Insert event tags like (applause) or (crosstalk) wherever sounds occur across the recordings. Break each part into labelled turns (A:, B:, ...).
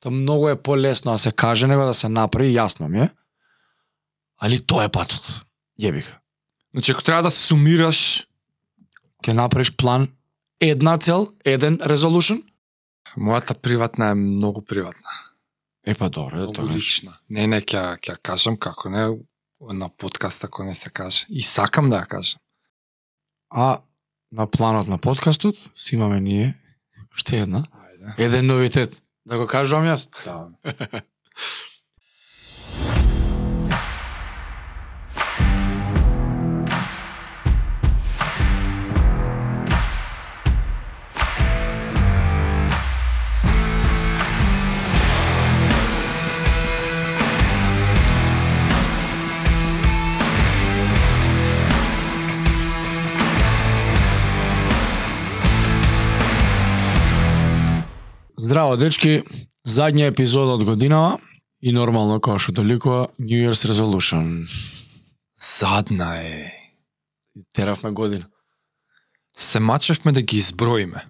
A: Тоа многу е полесно да се каже него да се направи, јасно ми е. Али тоа е патот. Јебих.
B: Значи, ако треба да се сумираш,
A: Ќе направиш план, една цел, еден resolution.
B: мојата приватна е многу приватна.
A: Е па добро, да
B: Многу
A: тоа кажеш.
B: лична. Не, не, ќе ќе ја кажам како не на подкаст ако не се каже. И сакам да ја кажам.
A: А на планот на подкастот си имаме ние уште една.
B: Ајде.
A: Еден новитет. Да го кажувам јас.
B: Да.
A: Здраво, дечки. Задња епизода од годинава и нормално како што доликува New Year's Resolution.
B: Задна е.
A: Теравме година.
B: Се мачевме да ги изброиме.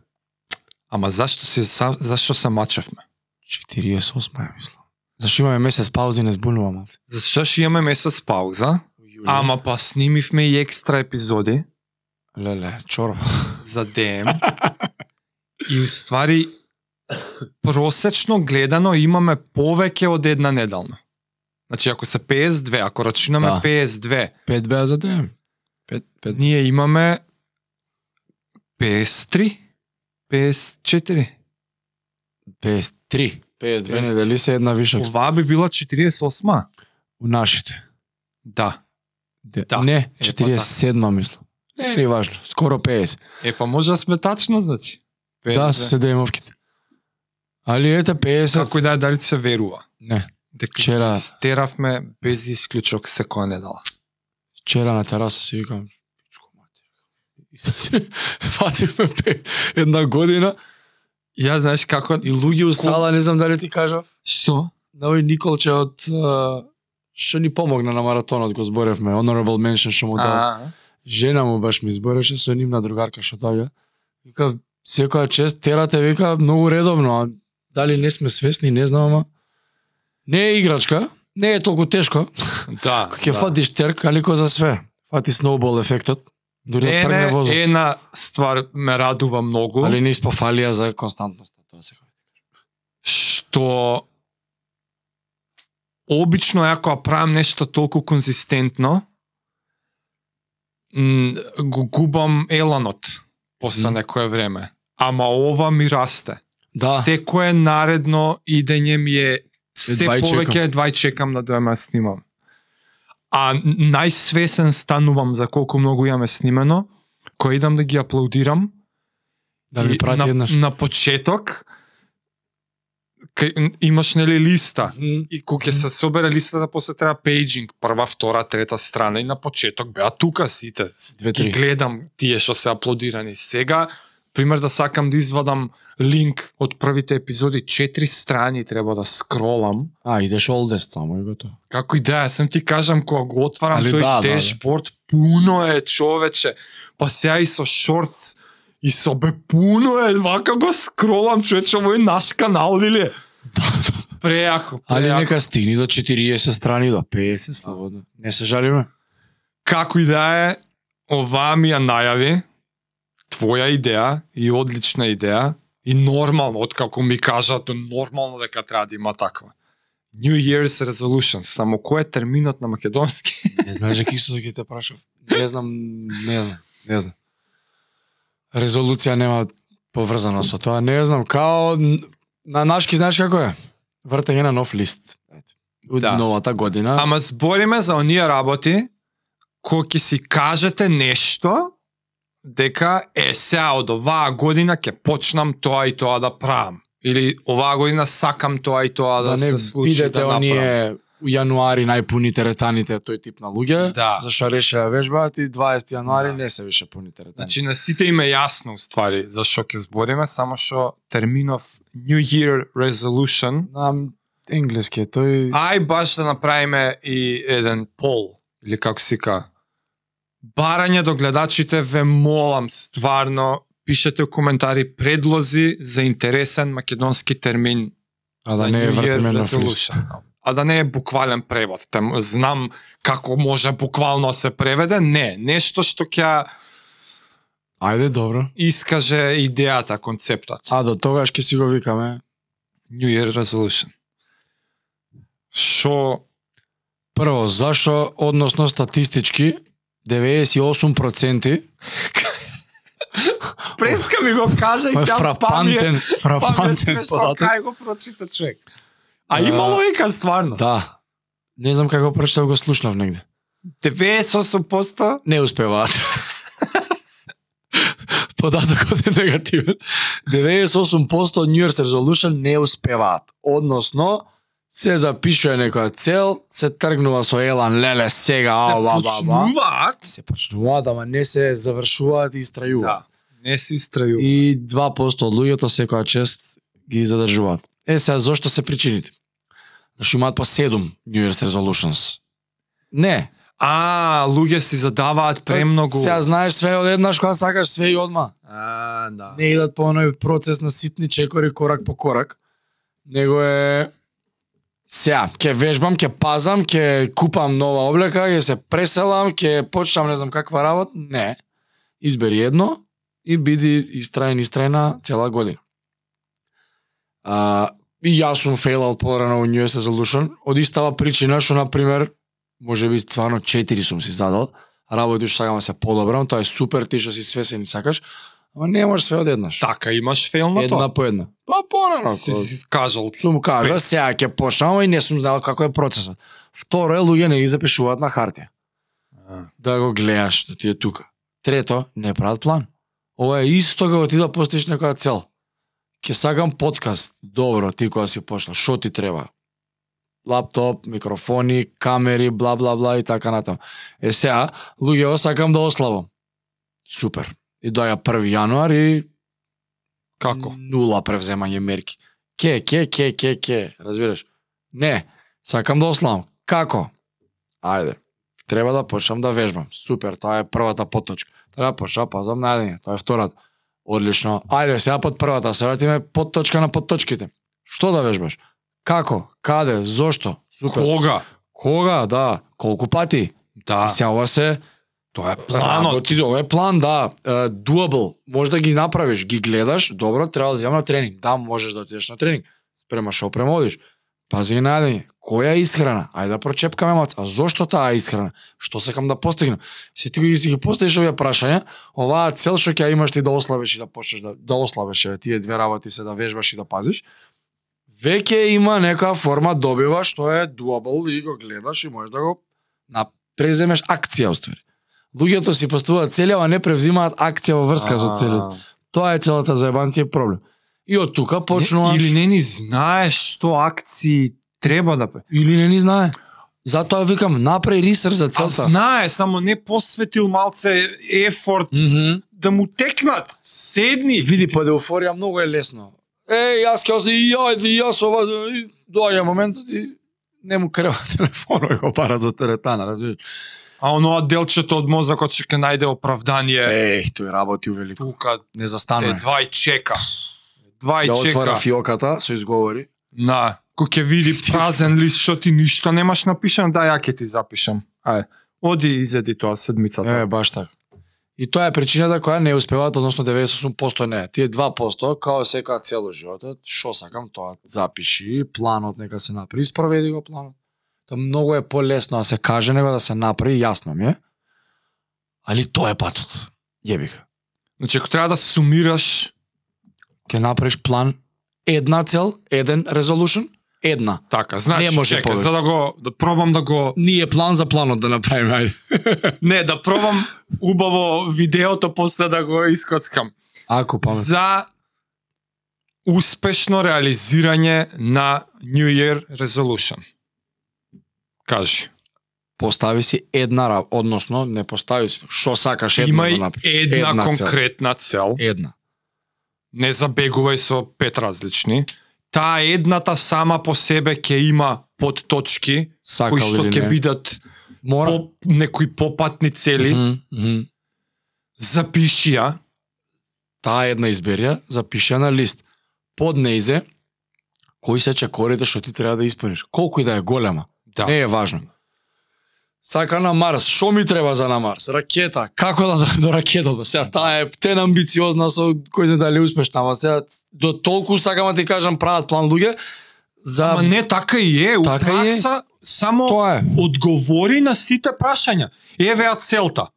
B: Ама зашто се за- зашто се мачевме?
A: 48 ја мислам. Зашто имаме месец паузи не збунува малце.
B: Зашто што имаме месец пауза, ама па снимивме и екстра епизоди
A: леле, чорба.
B: за ДМ. и уствари просечно гледано имаме повеќе од една неделна. Значи ако се 52, ако рачунаме
A: Да.
B: 52,
A: 5 беа за ден. 5 5
B: ние имаме 53, 54.
A: 53. 52 недели се една више
B: Оваа би била 48.
A: у нашите.
B: Да.
A: Де-
B: Да,
A: Не,
B: па
A: 47 мислам. Не, не важно. Скоро 50.
B: Е па може да сме тачно, значи.
A: Да, се демовките. Али ете 50.
B: како и да е, дали се верува.
A: Не.
B: Дека
A: Вчера-
B: ги стеравме без исклучок секоја недела.
A: Вчера на тераса си викам, пичко мати. (laughs) Фативме пе- една година
B: Ја знаеш како
A: и луѓе у сала, не знам дали ти кажав,
B: што?
A: на овој Николче од а, што ни помогна на маратонот, го зборевме, honorable mention што му дава.
B: Да.
A: Жена му баш ми збореше со нивна другарка што доаѓа. Вика секоја чест терате вика многу редовно, а дали не сме свесни, не знам, ама не е играчка, не е толку тешко. (laughs)
B: Да.
A: Ќе фатиш терк, али ко за све. Фати сноубол ефектот. Дури да тргне возот.
B: Ене, една ствар ме радува многу,
A: Али не испофалија за константноста, тоа се кажа.
B: што обично ја кога правам нешто толку конзистентно, м, го губам еланот после
A: Мгм.
B: некое време. Ама ова ми расте.
A: Да,
B: Секое наредно идење ми е се
A: Едва и чекам.
B: повеќе едва и чекам да дојам да снимам. А најсвесен станувам за колку многу имаме снимено, кој идам да ги аплодирам.
A: да ми
B: И
A: прати
B: на,
A: еднаш.
B: на почеток кај, имаш нели листа
A: Мгм.
B: и кога ќе се собере листата после треба пейджинг, прва, втора, трета страна и на почеток беа тука сите.
A: Две, три.
B: Ги гледам тие што се аплодирани сега. Пример да сакам да извадам линк од првите епизоди, четири страни треба да скролам.
A: А, идеш олдест само и
B: (laughs)
A: готово.
B: Како и да, е, сам ти кажам кога го отварам
A: Али
B: тој
A: да, да, да.
B: дешборд, пуно е човече. Па сега и со шортс и со бе пуно е, вака го скролам човече, овој наш канал или? да, Прејако,
A: Али
B: прејако.
A: нека стигни до 40 страни, до 50
B: Да.
A: слободно. Не се жалиме.
B: како и да е, оваа ми ја најави, твоја идеја и одлична идеја, и нормално, откако ми кажат, нормално дека треба да има таква. New Year's Resolution, само кој е терминот на македонски?
A: Не знаеш дека исто да ќе те прашав. Не знам, не знам, не знам. Резолуција нема поврзано со тоа. Не знам, као н- на нашки знаеш како е? Вртење на нов лист. Од
B: Да.
A: новата година.
B: Ама збориме за оние работи, кои ќе си кажете нешто, дека е сега од оваа година ќе почнам тоа и тоа да правам. Или оваа година сакам тоа и тоа да,
A: не
B: се случи
A: бидете
B: да направам.
A: оние у јануари најпуните ретаните тој тип на луѓе,
B: Да.
A: зашо решеа вежбаат и 20 јануари
B: Да.
A: не се више пуните ретани.
B: Значи на сите им е јасно уствари за што ќе збориме, само што терминов New Year Resolution.
A: на енглески е тој
B: Ај баш да направиме и еден пол или како се ка. Барање до гледачите ве молам стварно пишете у коментари предлози за интересен македонски термин
A: А да
B: за
A: не е
B: New Year
A: вртемен на флис.
B: resolution. А да не е буквален превод. Те, м- знам како може буквално да се преведе. Не, нешто што ќе
A: Ајде, добро.
B: искаже идејата, концептот.
A: А до тогаш ќе си го викаме.
B: New Year Resolution. Шо
A: Прво, зашо, односно статистички, 98%
B: Преска ми го кажа и
A: Ова е
B: тя па ми
A: фрапантен,
B: е па ми е
A: фрапантен
B: смешно,
A: податок.
B: кај го прочита човек. А
A: А,
B: има логика стварно.
A: Да. Не знам како прочитав го слушнав негде.
B: 98%
A: Не успеваат. (laughs) Податокот е негативен. 98% од New Year's Resolution не успеваат. Односно, се запишува некоја цел, се тргнува со елан, леле, сега,
B: се
A: ова, ова, ова.
B: почнуваат.
A: Се почнуваат, ама не се завршуваат и истрајуваат.
B: Да. Не се истрајува.
A: и 2% од луѓето секоја чест ги задржуваат. Е, сега, зошто се причините? Зашто имаат по 7 New Year's Resolutions. Не.
B: А, луѓе си задаваат премногу.
A: Сега знаеш све од еднаш кога сакаш све и одма.
B: А, да.
A: Не идат по оној процес на ситни чекори корак по корак, него е сега, ќе вежбам, ќе пазам, ќе купам нова облека, ќе се преселам, ќе почнам не знам каква работа. Не. Избери едно и биди истраен, истраена цела година. А, и јас сум фейлал порано во New Resolution, од истава причина што, на пример, може би стварно 4 сум си задал, работиш, сакам да се подобрам, тоа е супер, ти што си свесен и сакаш, ама не можеш све одеднаш.
B: Така имаш фейл на тоа.
A: една по една. Па порано.
B: Си
A: ко-
B: си кажал.
A: сум кажа, сега ќе почнам и не сум знаел како е процесот. Второ е, луѓе не ги запишуваат на хартија. Да го гледаш, да ти е тука. Трето, не прават план. Ова е исто како ти да постиш некоја цел. Ќе сакам подкаст. Добро, ти кога си почнал, што ти треба? Лаптоп, микрофони, камери, бла бла бла и така натаму. Е сега, луѓе, ова сакам да ослабам. Супер. И доаѓа 1 јануар и
B: Како?
A: Нула превземање мерки. Ке, ке, ке, ке, ке, разбираш? Не, сакам да ослам. Како? Ајде. Треба да почнам да вежбам. Супер, тоа е првата поточка. Треба да почнам да пазам на едење. Тоа е втората. Одлично. Ајде, сега под првата, се вратиме подточка на подточките. Што да вежбаш? Како? Каде? Зошто? Супер.
B: Кога?
A: Кога? Да. Колку пати?
B: Да.
A: Сега ова се
B: Тоа е
A: Плано,
B: планот.
A: ти ова е план, да, е, дуабл. Може да ги направиш, ги гледаш, добро, треба да идам на тренинг. Да, можеш да отидеш на тренинг. Спремаш опрема, одиш. Пази ги на јадење. Која е исхрана? Ајде да прочепкаме мац. А зошто таа е исхрана? Што сакам да постигнам? Се ти ги си ги поставиш овие прашања, оваа цел што ќе ја имаш ти да ослабеш и да почнеш да, да ослабеш еве, тие две работи се да вежбаш и да пазиш. Веќе има некоја форма добива што е дуабл и го гледаш и можеш да го на преземеш акција уствари. Луѓето си поставуваат цели, ама не превзимаат акција во врска со целите. Тоа е целата заебанци и проблем. И од тука почнуваш
B: Или не ни знаеш што акции треба да пе.
A: или не ни знае. Затоа викам, направи рисер за
B: А
A: целта.
B: знае, само не посветил малце ефорт
A: Мгм.
B: да му текнат. Седни.
A: Види, па еуфорија многу е лесно. Е, јас ќе оси, и ја, и јас ова, и доаѓа моментот и не му крева (laughs) телефонот го пара за теретана, разбираш?
B: А оноа делчето од мозокот што ќе најде оправдание.
A: Еј, тој работи увелико.
B: Тука
A: Не
B: е
A: застанува.
B: два и чека. Два и
A: Ја отвара
B: чека.
A: фиоката со изговори.
B: На, кој ќе види празен лист што ти ништо немаш напишан, да ја ќе ти запишам. Ај, оди изеди тоа седмицата.
A: Е, баш така. И тоа е причината која не успеваат, односно 98% не. Тие 2%, као секоја цело животот, што сакам тоа запиши, планот нека се направи, спроведи го планот. Тоа многу е полесно да се каже него да се направи, јасно ми е. Али тоа е патот. Јебиха.
B: Значи, ако треба да сумираш,
A: Ке направиш план, една цел, еден resolution, една.
B: така, значи,
A: Не може
B: чека,
A: повеќе.
B: за да го да пробам
A: (laughs)
B: да го
A: Ние план за планот да направиме, ајде.
B: не, да пробам убаво видеото после да го искоцкам.
A: Ако па памет.
B: за успешно реализирање на New Year Resolution. Кажи.
A: Постави си една, ра- односно не постави си, што сакаш едно
B: Имај
A: да направиш.
B: една,
A: Една цел.
B: конкретна цел.
A: Една.
B: Не забегувај со пет различни. Таа едната сама по себе ќе има подточки
A: сакал
B: кои што
A: Така или
B: ќе
A: не.
B: бидат
A: Мора... да
B: по некои попатни цели.
A: Мгм, мгм.
B: Запиши ја.
A: Таа една изберија, запиши ја на лист. Под неизе, кои се чекорите што ти треба да исполниш. Колку и да е голема,
B: Да.
A: не е важно. Сака на Марс, што ми треба за на Марс? Ракета, како да дојдам до ракета? До сега таа е птен амбициозна со кој знае дали успешна, ама сега до толку сакам да ти кажам прават план луѓе за
B: Ама не така и е, у
A: да. Така и е.
B: пракса само
A: тоа е.
B: одговори на сите прашања. Еве ја целта.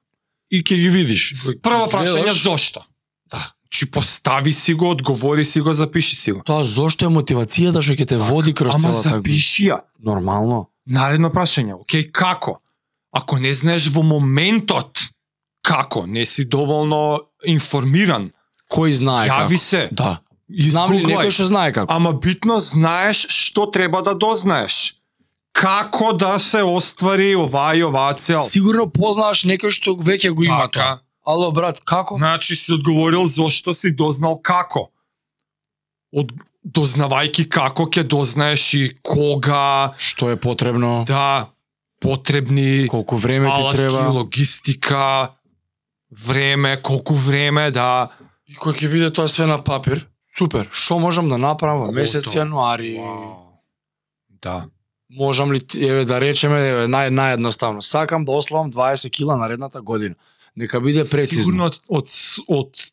A: И ќе ги видиш.
B: Значи, Прво прашање
A: Гледаш,
B: зошто? Да. Чи постави си го, одговори си го, запиши си го.
A: Тоа зошто е мотивацијата што ќе те води кроз
B: Ама
A: целата година?
B: запиши ја.
A: Нормално.
B: Наредно прашање, океј, како? Ако не знаеш во моментот како, не си доволно информиран,
A: Кој знае
B: јави
A: како?
B: се,
A: Да. Знам ли
B: изгуглај.
A: некој што знае како?
B: Ама битно знаеш што треба да дознаеш. Како да се оствари оваа и оваа цел.
A: Сигурно познаваш некој што веќе го има тоа.
B: Така.
A: Ало брат, како?
B: Значи си одговорил зошто си дознал како. Од дознавајки како ќе дознаеш и кога,
A: Што е потребно?
B: да, потребни
A: Колку време ти
B: алатки,
A: треба?
B: логистика, време, колку време, да.
A: И кој ќе биде тоа све на папир? Супер. Што можам да направам во
B: Круто.
A: месец јануари?
B: Да.
A: Можам ли ти- еве да речеме еве нај наједноставно. Сакам да ослабам 20 кила наредната година. Нека биде прецизно.
B: Сигурно од, од, од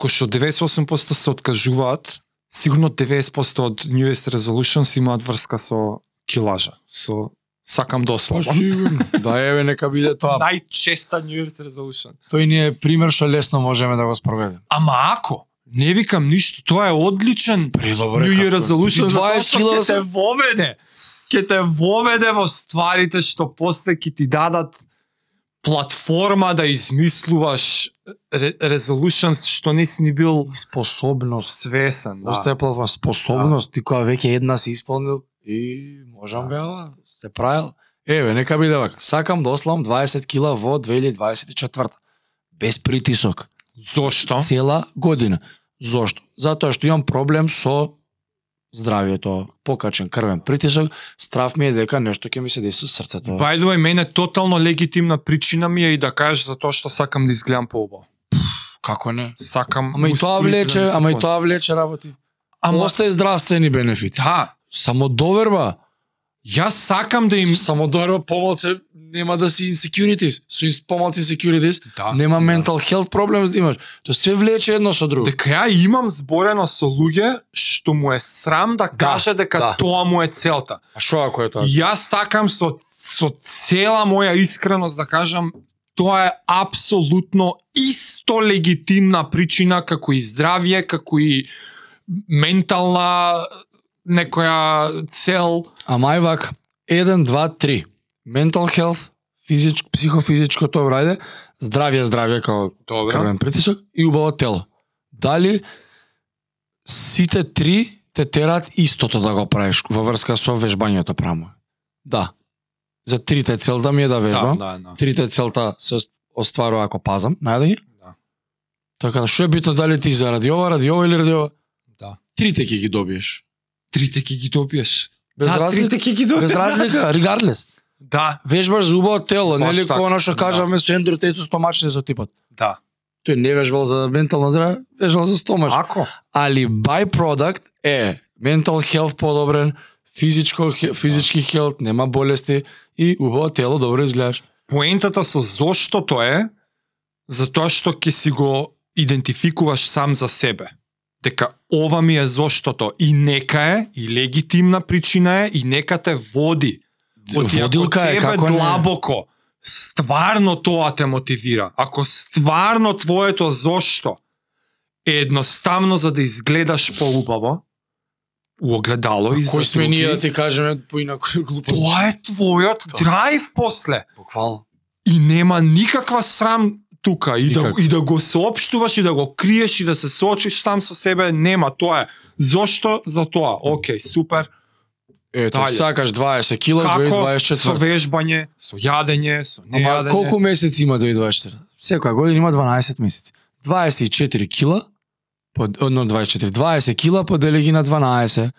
B: кој што 98% се откажуваат, сигурно 90% од New Year's Resolutions имаат врска со килажа, со сакам да
A: Па
B: ослабам.
A: сигурно. (laughs) Да еве нека биде тоа.
B: (laughs) Најчеста New Year's Resolution.
A: Тој ни е пример што лесно можеме да го спроведеме.
B: Ама ако, не викам ништо, тоа е одличен
A: Предобро.
B: New Year Resolution,
A: 20
B: затоа што ќе
A: кила да
B: те воведе. Ќе те воведе во стварите што после ќе ти дадат платформа да измислуваш ре- resolutions што не си ни бил
A: способност.
B: свесен. Да.
A: Остаја платформа способност, ти која веќе една си исполнил Да. и можам
B: Да.
A: бела, се правил. Еве, нека биде вака. Сакам да ослам 20 кила во 2024. Без притисок.
B: Зошто?
A: Цела година. Зошто? Затоа што имам проблем со здравието, покачен крвен притисок, страв ми е дека нешто ќе ми се деси со срцето.
B: By the way, мене тотално легитимна причина ми е и да кажеш за тоа што сакам да изгледам поубаво.
A: Како не?
B: Сакам
A: Ама и тоа
B: мускулите да ми
A: влече,
B: се
A: ама и
B: под-
A: тоа влече работи. Ама
B: Ама
A: остави здравствени бенефити.
B: да,
A: Само доверба.
B: јас сакам да им
A: Само доверба помалце нема да си insecurities. Со ин- помалци securities
B: да,
A: нема
B: да.
A: mental health problems да имаш. Тоа све влече едно со друго.
B: дека ја имам зборено со луѓе што му е срам да каже дека
A: да.
B: тоа му е целта.
A: А што ако е тоа?
B: И Јас сакам со со цела моја искреност да кажам тоа е апсолутно исто легитимна причина како и здравје, како и ментална некоја цел.
A: Ама ај вак, 1 2 3. Mental health, физич, психофизичко тоа врајде, здравје, здравје као
B: Добра.
A: крвен притисок и убаво тело. Дали сите три те терат истото да го правиш во врска со вежбањето прамо? Да. За трите целта ми е да вежбам.
B: Да, да, да.
A: трите целта се ост- остварува ако пазам, најде ги?
B: Да.
A: Така да што е битно дали ти заради ова, ради ова или ради ова?
B: Да.
A: Трите ќе ги добиеш.
B: Трите ќе ги добиеш.
A: Без
B: да,
A: разлика,
B: трите ќе ги добиеш.
A: без разлика, regardless.
B: Да,
A: Вежбаш за убаво тело,
B: Баш
A: нели
B: така,
A: како она што
B: да.
A: кажавме со Ендрю Тейт со стомачни со типот.
B: да.
A: Тој не вежбал за ментално здраве, вежбал за стомаш.
B: Ако?
A: Али byproduct е mental health подобрен, физичко физички health, нема болести и убаво тело, добро изгледаш.
B: поентата со заштото е затоа што ќе си го идентификуваш сам за себе. Дека ова ми е заштото и нека е и легитимна причина е и нека те води. Оти,
A: Водилка
B: ако
A: е
B: тебе
A: како не.
B: длабоко стварно тоа те мотивира. Ако стварно твоето зошто е едноставно за да изгледаш поубаво у огледало и
A: А
B: за
A: Кој сме ние
B: други,
A: да ти кажеме поинаку глупост?
B: тоа е твојот
A: Тоа.
B: драйв после.
A: Буквално.
B: и нема никаква срам тука и да,
A: Никаква.
B: и да го соопштуваш и да го криеш и да се соочиш сам со себе нема тоа е зошто за тоа океј супер
A: Ето,
B: Дале.
A: сакаш 20 кила,
B: како
A: 2024.
B: со вежбање со јадење со
A: Ама
B: нејадење
A: колку месеци има 2024? Секоја година има 12 месеци. 24 кила, под, одно 24, 20 кила подели ги на 12.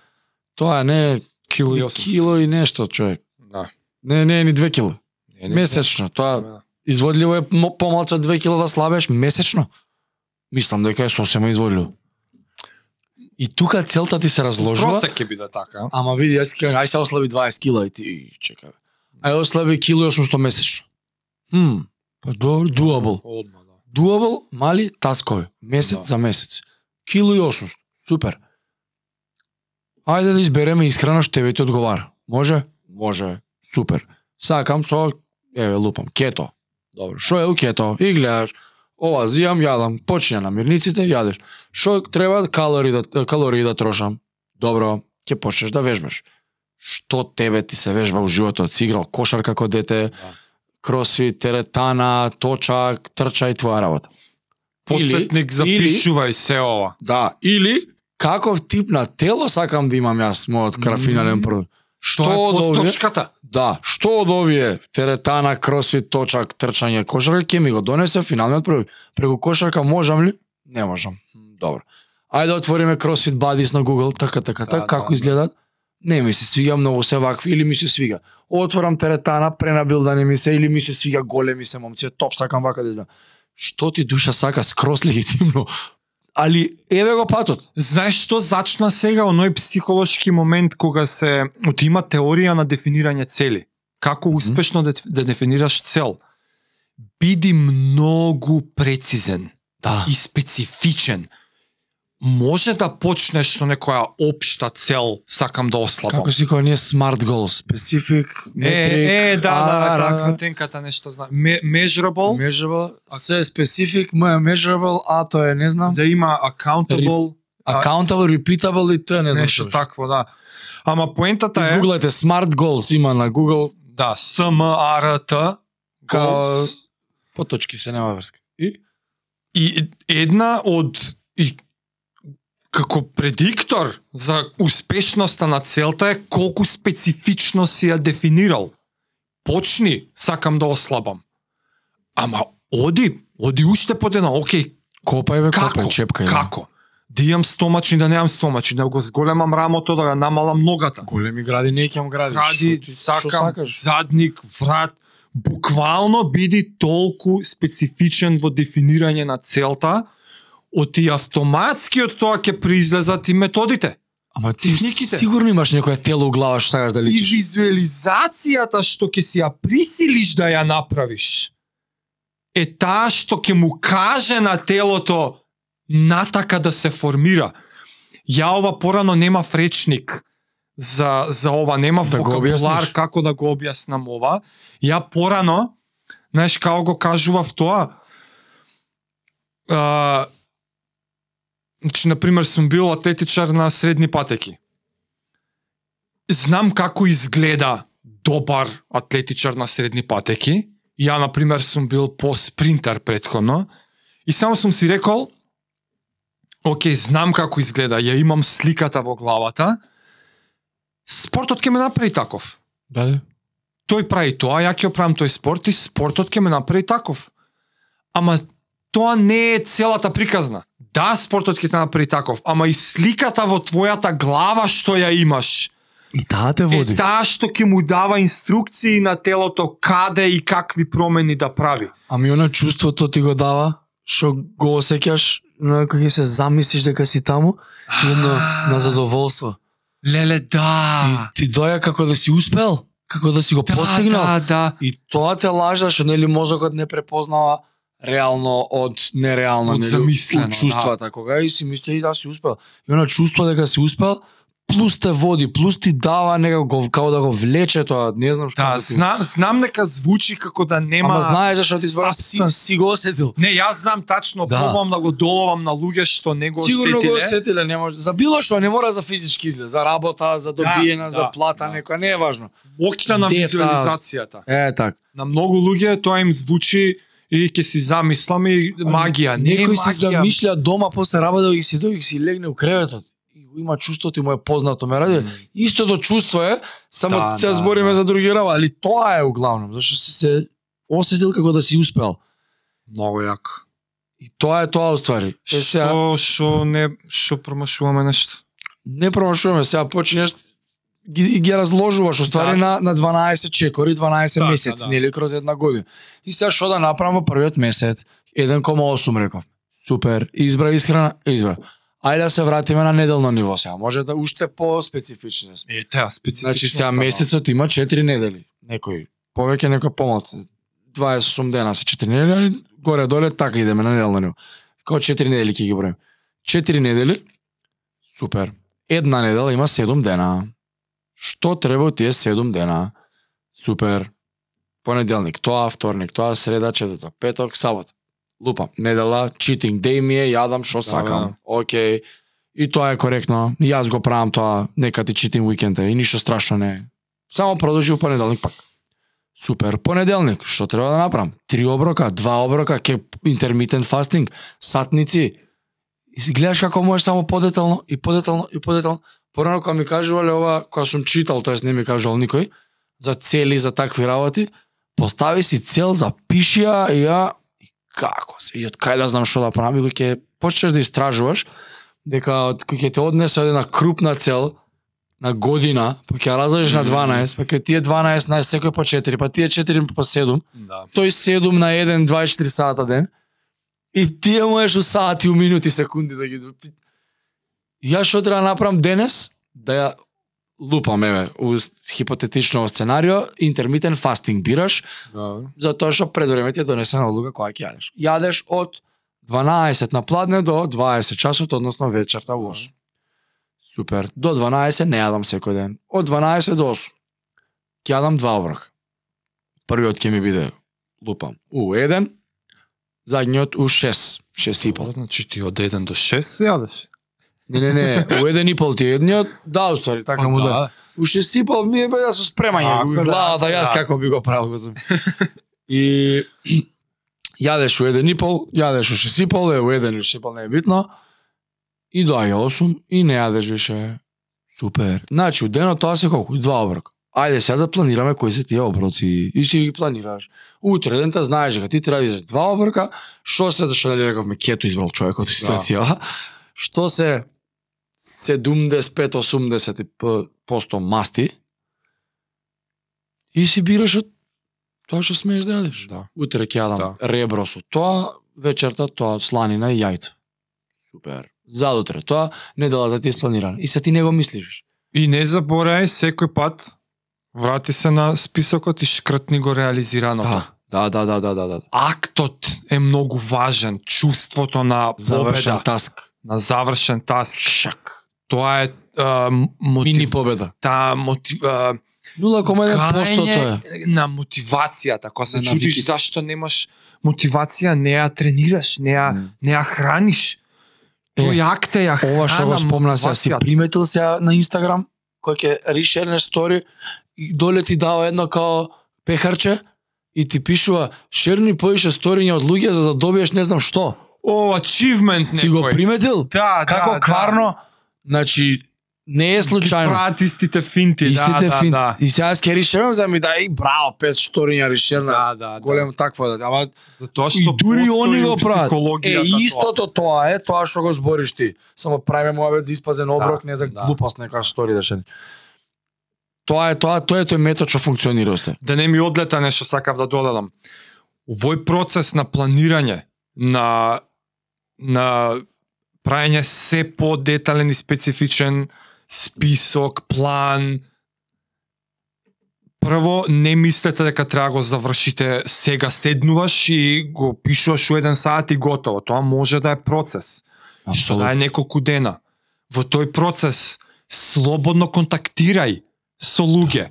A: Тоа не е
B: кило
A: и кило и нешто, човек.
B: да
A: Не, не е ни 2 кила.
B: Не, не,
A: Месечно.
B: не.
A: Тоа изводливо е мо- помалку од 2 кила да слабеш месечно. Мислам дека е сосема изводливо. И тука целта ти се разложува.
B: Просек ќе биде така.
A: Ама види, јас ти кажам, ај се ослаби 20 кила и ти и, чекај. Ај ослаби кило и 800 месечно. Хм, па добро, дуабл.
B: Одма, да.
A: Дуабл, мали таскови, месец
B: Да.
A: за месец. Кило и 800, супер. Ајде да избереме исхрана што тебе ти одговара. Може? Може. Супер. Сакам со еве лупам кето. Добро. Што е у кето? И гледаш Ова зијам, јадам, почиња на мирниците, јадеш. Што треба калории да, калории да трошам? Добро, ќе почнеш да вежбаш. Што тебе ти се вежба у животот? Си играл кошар како дете,
B: Да.
A: кросфит, теретана, точак, трча и твоја работа.
B: Подсетник запишувај се ова.
A: Да, или каков тип на тело сакам да имам јас мојот крафинален
B: Мм.
A: продукт. Што
B: Тоа е
A: од
B: под
A: овие,
B: точката.
A: да, што од овие теретана, кросфит, точак, трчање, кошарка ќе ми го донесе финалниот продукт. Преку кошарка можам ли? Не можам. М, Добро. Ајде отвориме CrossFit Buddies на Google, така така
B: Да,
A: така,
B: да,
A: како
B: да.
A: изгледаат? Не ми се свига, многу се вакви или ми се свига. Отворам теретана, пренабилдани ми се или ми се свига, големи се момци, топ сакам вака да изгледам. Што ти душа сака скрос легитимно? Али еве го патот.
B: Знаеш што зачна сега оној психолошки момент кога се оти има теорија на дефинирање цели. Како
A: Мгм.
B: успешно да, да дефинираш цел. Биди многу прецизен
A: Да.
B: и специфичен. Може да почнеш со некоја општа цел, сакам да ослабам.
A: Како си кој ние smart goals, specific, metric,
B: Е, е, да, да,
A: а,
B: таква тенката нешто знам. Ме- Measurable,
A: Measurable, се е specific, ме е measurable, а тоа е не знам.
B: да има accountable, а-
A: Accountable, repeatable и т, не знам
B: нешто
A: што.
B: такво, да. Ама поентата е,
A: Изгуглајте smart goals има на Google,
B: да, SMRT,
A: Као-
B: goals.
A: по точки се нема врска. И
B: И една од и како предиктор за успешноста на целта е колку специфично си ја дефинирал. Почни, сакам да ослабам. Ама оди, оди уште под една, окей,
A: копај бе,
B: Како?
A: копај, чепкај. да.
B: како? Да имам стомачи, да немам стомачи, да го зголемам рамото, да го намалам ногата.
A: Големи гради не ќе гради.
B: Кради, сакам, задник, врат, буквално биди толку специфичен во дефинирање на целта, оти автоматски од тоа ќе произлезат и методите.
A: Ама ти
B: техниките.
A: сигурно имаш некоја тело у глава што сакаш да
B: И
A: личиш.
B: визуелизацијата што ќе си ја присилиш да ја направиш, е таа што ќе му каже на телото натака да се формира. Ја ова порано нема речник за, за ова, нема
A: Да го
B: вокабулар
A: објасниш?
B: како да го објаснам ова. Ја порано, знаеш, како го кажував тоа, а, значи, например, сум бил атлетичар на средни патеки. Знам како изгледа добар атлетичар на средни патеки. Ја, например, сум бил по спринтер предходно. И само сум си рекол, окей, знам како изгледа, ја имам сликата во главата, спортот ќе ме направи таков
A: Да, да.
B: тој прави тоа, ја ќе правам тој спорт и спортот ќе ме направи таков. Ама тоа не е целата приказна. Да, спортот ќе те направи таков, ама и сликата во твојата глава што ја имаш,
A: И таа те
B: е
A: води.
B: таа што ќе му дава инструкции на телото каде и какви промени да прави.
A: Ами она чувството ти го дава, што го осеќаш, на кога ќе се замислиш дека си таму, и на, на задоволство.
B: Леле, да.
A: Ти доја како да си успел, како да си го постигнал.
B: Да, да.
A: И тоа те лажа што нели мозокот не препознава реално од нереално,
B: Од
A: нели,
B: замислено,
A: од чувствата. Да. Кога и си мисли и да си успел. И она чувство дека си успел, плюс те води, плюс ти дава некако го- како да го влече тоа, не знам што.
B: Да,
A: ти-
B: знам, знам нека звучи како да нема...
A: Ама знаеш зашто ти зборам, си,
B: substance.
A: си го осетил.
B: Не, јас знам тачно,
A: Да.
B: пробам да го доловам на луѓе што не го
A: Сигурно
B: осетиле.
A: го осетиле, не може. За било што, не мора за физички изглед, за работа, за добиена,
B: да,
A: за плата,
B: да.
A: некоја, не е важно.
B: Мокна на
A: Деца.
B: визуализацијата.
A: Е, така.
B: На многу луѓе тоа им звучи и ќе си замислам и магија. Не е
A: Некој се
B: магија.
A: замишља дома после работа и си дојде и си легне у креветот. И го има чувството и му е познато, ме ради.
B: Мгм.
A: Истото чувство е, само
B: Да,
A: да, се
B: да,
A: да, збориме да.
B: да.
A: за други работи, али тоа е углавном, зашто си се осетил како да си успел.
B: Многу јако.
A: И тоа е тоа уствари. Е, сега,
B: Што што не што промашуваме нешто.
A: не промашуваме, сега почнеш ги, ги разложуваш уствари на,
B: Да.
A: на 12 чекори, 12
B: Да, да,
A: месеци,
B: да.
A: нели кроз една година. И сега што да направам во првиот месец? 1,8 реков. Супер. Избра исхрана, избра. Ајде да се вратиме на неделно ниво сега. Може да уште по-специфични да сме.
B: Е, теа, специфично.
A: Значи сега
B: стана.
A: месецот има 4 недели. Некој повеќе, некој помалку. 28 дена се 4 недели, али горе доле така идеме на неделно ниво. Како 4 недели ќе ги броим. 4 недели. Супер. Една недела има 7 дена. Што треба од тие 7 дена? Супер. Понеделник, тоа, вторник, тоа, среда, четврток, петок, сабот. Лупам. Недела, читинг, деј ми е, јадам што
B: Да,
A: сакам. Океј. И тоа е коректно. И Јас го правам тоа, нека ти читим уикенда и ништо страшно не е. Само продолжи у понеделник пак. Супер, понеделник, што треба да направам? Три оброка, два оброка, ке интермитент фастинг, сатници. И си гледаш како можеш само подетално и подетално и подетално. Порано кога ми кажувале ова, кога сум читал, тоест не ми кажувал никој, за цели, за такви работи, постави си цел, запиши ја и ја и како се, и од кај да знам што да правам, и ќе почнеш да истражуваш, дека од кој ќе те однесе од една крупна цел на година, па ќе ја разделиш на
B: Мгм.
A: 12, па ќе тие 12 на секој по 4, па тие 4 по 7,
B: Да.
A: тој 7 на 1 24 сата ден. И тие можеш у сати, у минути, секунди да ги допи- Ја што треба да направам денес? Да ја лупам, еве, у хипотетично сценарио, интермитен фастинг бираш,
B: Добро.
A: затоа што пред време ти е донесена одлука која ќе јадеш. Јадеш од 12 на пладне до 20 часот, односно вечерта у 8. Супер. До 12 не јадам секој ден. Од 12 до 8 ќе јадам два оброка. Првиот ќе ми биде лупам у 1, задниот у 6, 6 и пол.
B: Значи ти од 1 до 6 се јадеш.
A: Не, не, не, у 1 и пол ти е едниот, да, устари,
B: Па
A: така му да. Уште сипал ми е бе да со спремање,
B: Ако
A: го
B: да,
A: главата
B: ако
A: јас
B: да.
A: како би го правил. го знам. И јадеш у еден и пол, јадеш у шесипол, е у еден и шесипол не е битно. И доаѓа 8 и не јадеш више. Супер. Значи, у денот тоа се колку? Два оброка. Ајде сега да планираме кои се тие оброци и си ги планираш. Утре дента знаеш дека ти треба да изеш два оброка, што се да што дали рековме кето избрал човекот од ситуацијава. Што се 75-80% масти и си бираш од тоа што смееш да јадеш.
B: Да.
A: Утре ќе јадам
B: Да.
A: ребро со тоа, вечерта тоа сланина и јајца. Супер. Задутре тоа, неделата ти е спланирана. И се ти не го мислиш.
B: И не заборај секој пат врати се на списокот и шкртни го реализирано.
A: да, да, да, да, да. да.
B: Актот е многу важен, чувството на
A: Завршен
B: победа,
A: таск.
B: на завршен таск.
A: Шак.
B: Тоа е а, м-
A: Мини
B: мотив,
A: победа.
B: та мотив, а,
A: 0,1% тоа е.
B: гајање на мотивацијата, кога се
A: На
B: чудиш
A: навики.
B: зашто немаш мотивација, не ја тренираш, не ја, не ја храниш.
A: Е,
B: Тој акт е ја храна,
A: Ова што го спомна сега, си
B: мотивацијата.
A: приметил сега на Инстаграм, кој ќе ришернеш стори, и доле ти дава едно као пехарче, и ти пишува, шерни поише сториња од луѓе за да добиеш не знам што.
B: О, ачивмент некој.
A: Си го приметил?
B: Да,
A: Како
B: да,
A: кварно, значи, не е
B: Да.
A: случајно.
B: Прават истите финти,
A: Истите
B: да,
A: фин.
B: да, да.
A: И сега ќе ришерам, за ми дај, браво, пет сториња ришерна.
B: Да, да, да.
A: Голем такво да. Ама
B: Затоа
A: и
B: што
A: дури
B: постои
A: они го
B: у
A: прават. Е,
B: психологијата тоа.
A: истото тоа е, тоа што го збориш ти. Само правиме муабет за испазен оброк, не за
B: да.
A: глупост нека штори да шени. Тоа е тоа, тоа е тој метод што функционира осте.
B: да не ми одлета нешто сакав да додадам. Овој процес на планирање, на на праење се по-детален и специфичен список, план. Прво, не мислете дека треба го завршите сега седнуваш и го пишуваш у еден саат и готово. Тоа може да е процес. Што да е неколку дена. Во тој процес слободно контактирај со луѓе.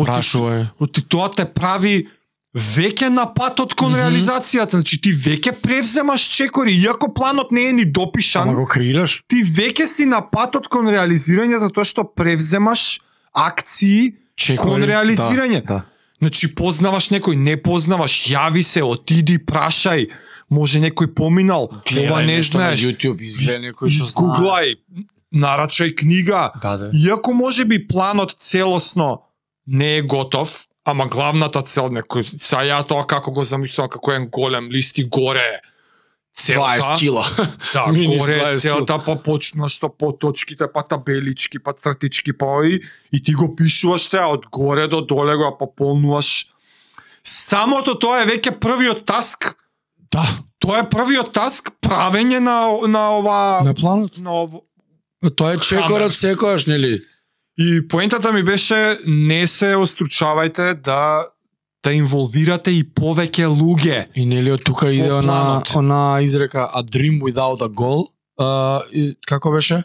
B: Оти-
A: Прашувај.
B: Оти тоа те прави веќе на патот кон
A: Мгм.
B: реализацијата. Значи ти веќе превземаш чекори, иако планот не е ни допишан,
A: Ама го креираш?
B: ти веќе си на патот кон реализирање затоа што превземаш акции
A: Чекори.
B: Кон реализирање.
A: Да,
B: Значи познаваш некој, не познаваш, јави се, отиди, прашај, може некој поминал,
A: да.
B: ова
A: Гледај
B: не
A: нешто
B: знаеш.
A: На YouTube изгледа некој што знае.
B: Изгуглај, нарачај книга.
A: Да, да.
B: Иако може би планот целосно не е готов, ама главната цел некој, са ја тоа како го замислувам, како еден голем листи горе, е целта,
A: 20 кила. (laughs)
B: да,
A: минус
B: горе е
A: 20 кил.
B: целта, па почна што по точките, па табелички, па цртички, па и, и ти го пишуваш теа од горе до доле го ја пополнуваш. Самото тоа е веќе првиот таск,
A: Да.
B: Тоа е првиот таск правење на на ова
A: На планот.
B: на ово.
A: Тоа е чекорот секојаш, нели?
B: И поентата ми беше не се остручавајте да да инволвирате и повеќе луѓе.
A: И нели од тука
B: Во
A: иде она,
B: планот.
A: она изрека a dream without a goal. А, и, како беше?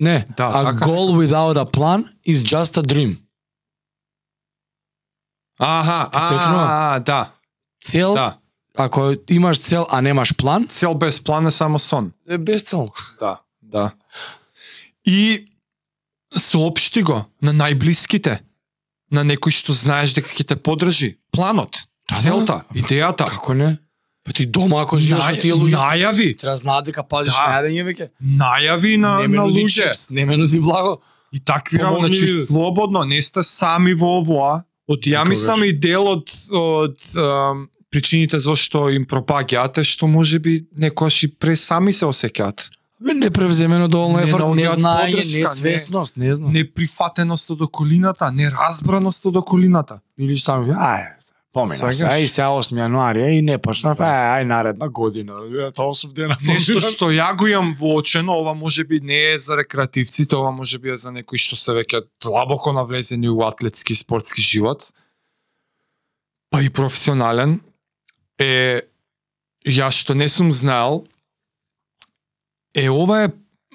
A: Не,
B: Да,
A: a
B: така.
A: goal without a plan is just a dream.
B: Аха, а,
A: текнува?
B: а, а, да,
A: Цел,
B: да.
A: ако имаш цел, а немаш план,
B: Цел без план е само сон.
A: е безцелно.
B: Да, да. И соопшти го на најблиските, на некој што знаеш дека ќе те подржи. Планот,
A: Да, да.
B: целта, идејата.
A: Како не? Па ти дома ако живееш со
B: Нај-
A: тие луѓе,
B: Најави,
A: треба знаат дека пазиш
B: Да.
A: на јадење веќе.
B: најави на,
A: не ме
B: на
A: нуди
B: луѓе.
A: чипс, не ме нуди благо.
B: И такви работи,
A: Помогни
B: значи
A: ви.
B: слободно, не сте сами во овоа. От ја
A: Никогаш.
B: мислам и дел од, од ам, причините зашто им пропаѓаат е што може би некојаш и пре сами се осеќаат.
A: Бе, не превземено доволно
B: Не
A: ефорт, не
B: наоѓаат
A: знаење,
B: подршка,
A: не
B: не.
A: свесност, не знам.
B: Неприфатеност од околината, неразбраност од околината.
A: Или сам, ај, помена се,
B: Сваѓаш?
A: ај се 8 јануари, ај не почнав, ај, ај наредна година, ај, тоа 8 дена.
B: Нешто што ја го имам воочено, ова може би не е за рекреативците, ова може би е за некои што се веќе длабоко навлезени у атлетски и спортски живот, па и професионален, е ја што не сум знаел, е ова е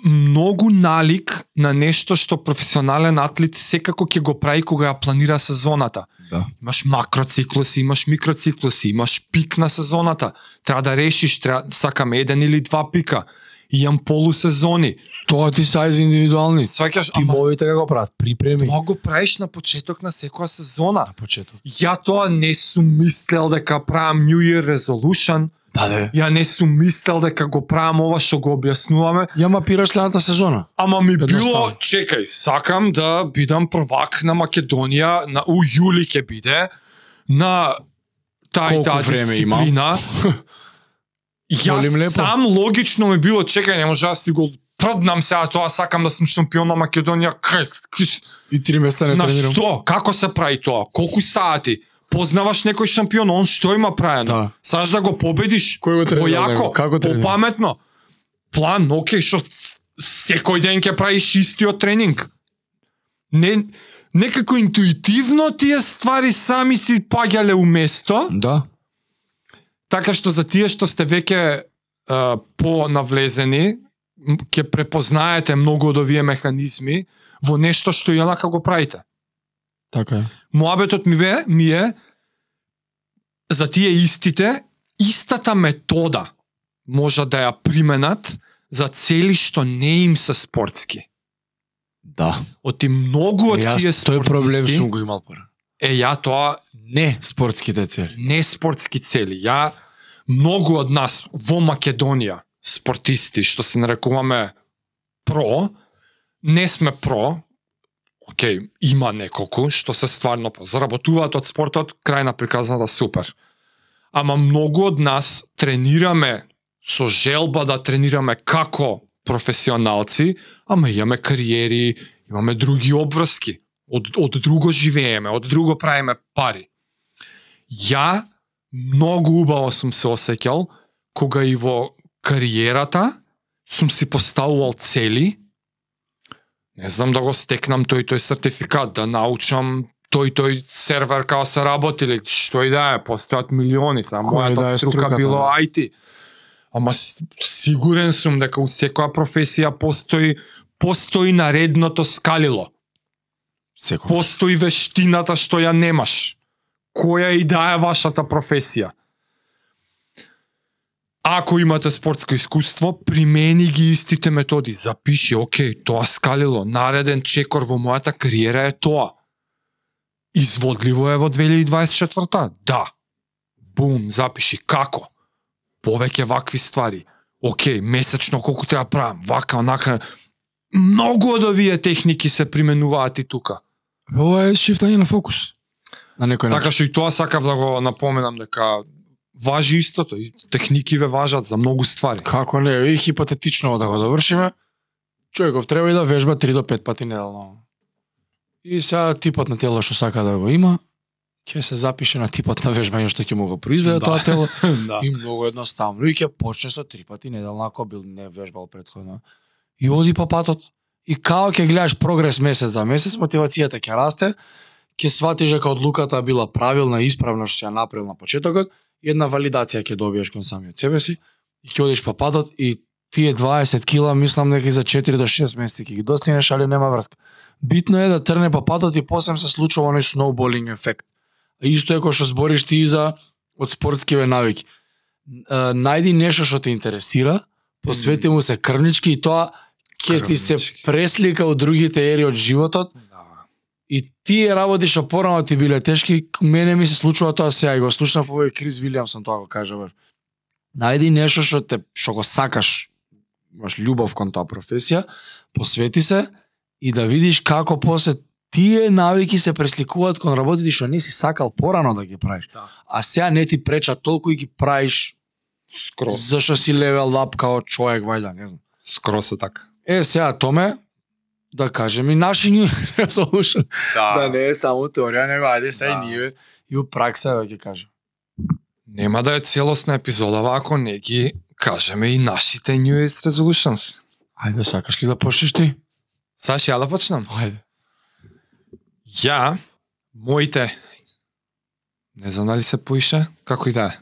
B: многу налик на нешто што професионален атлет секако ќе го прави кога ја планира сезоната.
A: Да.
B: Имаш макроциклуси, имаш микроциклуси, имаш пик на сезоната. Треба да решиш, треба, сакам еден или два пика. Имам полусезони.
A: Тоа ти са из индивидуални.
B: Сваќаш, ама
A: Тимовите како прават, припреми.
B: тоа го правиш на почеток на секоја сезона.
A: почеток.
B: Ја тоа не сум мислел дека правам New Year Resolution,
A: Да, да.
B: ја не сум мислел дека го правам ова што го објаснуваме,
A: Ја мапираш следната сезона.
B: Ама ми
A: Едноставно.
B: било, чекај, сакам да бидам првак на Македонија, на у јули ќе биде, на тај
A: Колку
B: таа
A: време има?
B: дисциплина. Ја
A: Молим лепо.
B: сам логично ми било, чекај, не може да си го проднам сега тоа, сакам да сум шампион на Македонија. Кај, киш,
A: И три места не
B: на
A: тренирам.
B: што? Како се прави тоа? Колку сати? Познаваш некој шампион, он што има праено?
A: Да.
B: Саш да го победиш?
A: Кој го тренира? да, него?
B: појако,
A: Како тренира?
B: попаметно. План, окей, што с- секој ден ќе правиш истиот тренинг. Не, некако интуитивно тие ствари сами си паѓале у место,
A: Да.
B: така што за тие што сте веќе а, понавлезени, м, ќе препознаете многу од овие механизми во нешто што јонака го правите.
A: Така е.
B: Моабетот ми бе, ми е за тие истите, истата метода може да ја применат за цели што не им се спортски.
A: Да.
B: Оти многу од
A: Јас
B: тие
A: тој
B: спортисти,
A: проблем сум го имал пора.
B: е ја тоа
A: Не спортските цели.
B: не спортски цели. Ја многу од нас во Македонија спортисти што се нарекуваме про, не сме про, океј, има неколку што се стварно про. заработуваат од спортот, крај на приказната супер. Ама многу од нас тренираме со желба да тренираме како професионалци, ама имаме кариери, имаме други обврски. Од, од друго живееме, од друго правиме пари. Ја многу убаво сум се осеќал кога и во кариерата сум си поставувал цели. Не знам да го стекнам тој и тој сертификат, да научам тој и тој сервер како се работи или што и да е, постојат милиони, само
A: Кој
B: мојата
A: да е
B: струка
A: струката,
B: било
A: да.
B: IT. Ама с- сигурен сум дека у секоја професија постои постои наредното скалило
A: Секој.
B: постои вештината што ја немаш. Која и да е вашата професија. Ако имате спортско искуство, примени ги истите методи. Запиши, окей, тоа скалило, нареден чекор во мојата кариера е тоа. Изводливо е во 2024-та? Да. Бум, запиши како. Повеќе вакви ствари. Океј, месечно колку треба правам, вака, онака. Многу од овие техники се применуваат и тука.
A: Ова е шифтање на фокус. На некој
B: Така
A: начин.
B: што и тоа сакав да го напоменам дека важи истото и техникиве важат за многу ствари.
A: Како не, и хипотетично да го довршиме. Човеков треба и да вежба 3 до 5 пати неделно. И сега типот на тело што сака да го има, ќе се запише на типот на вежбање што ќе му го произведе
B: Да.
A: тоа тело
B: (laughs) да.
A: и многу едноставно и ќе почне со три пати неделно ако бил не вежбал претходно. И оди по патот и као ќе гледаш прогрес месец за месец, мотивацијата ќе расте, ќе сватиш дека одлуката била правилна и исправна што си ја направил на почетокот, и една валидација ќе добиеш кон самиот себе си и ќе одиш по патот и тие 20 кила мислам дека и за 4 до 6 месеци ќе ги достигнеш, али нема врска. Битно е да трне по патот и после се случува оној сноуболинг ефект. Исто е кој што збориш ти и за од спортскиве навики а, најди нешто што те интересира, посвети му се крвнички и тоа ќе ти се
B: Крвнички.
A: преслика у другите ери од животот
B: Да.
A: и тие работи што порано ти биле тешки, к мене ми се случува тоа сега и го слушнав овој Крис Вилиамсон тоа го каже баш. Најди нешто што те што го сакаш, имаш љубов кон тоа професија, посвети се и да видиш како после тие навики се пресликуваат кон работите што не си сакал порано да ги правиш.
B: Да.
A: А сега не ти преча толку и ги правиш
B: Скрос.
A: Зашо си левел ап као човек, вајда, не знам.
B: Скрос е така.
A: Е, сега Томе, да кажем и наши (laughs) ни слуша. Да не е само теорија, него ајде сега
B: Да.
A: и ние и у пракса да ќе кажам.
B: Нема да е целосна епизода ако не ги кажеме и нашите New Year's Resolutions.
A: Ајде, сакаш ли да почнеш ти?
B: Саш, ја да почнам?
A: Ајде.
B: Ја, моите, не знам дали се поише, како и да е.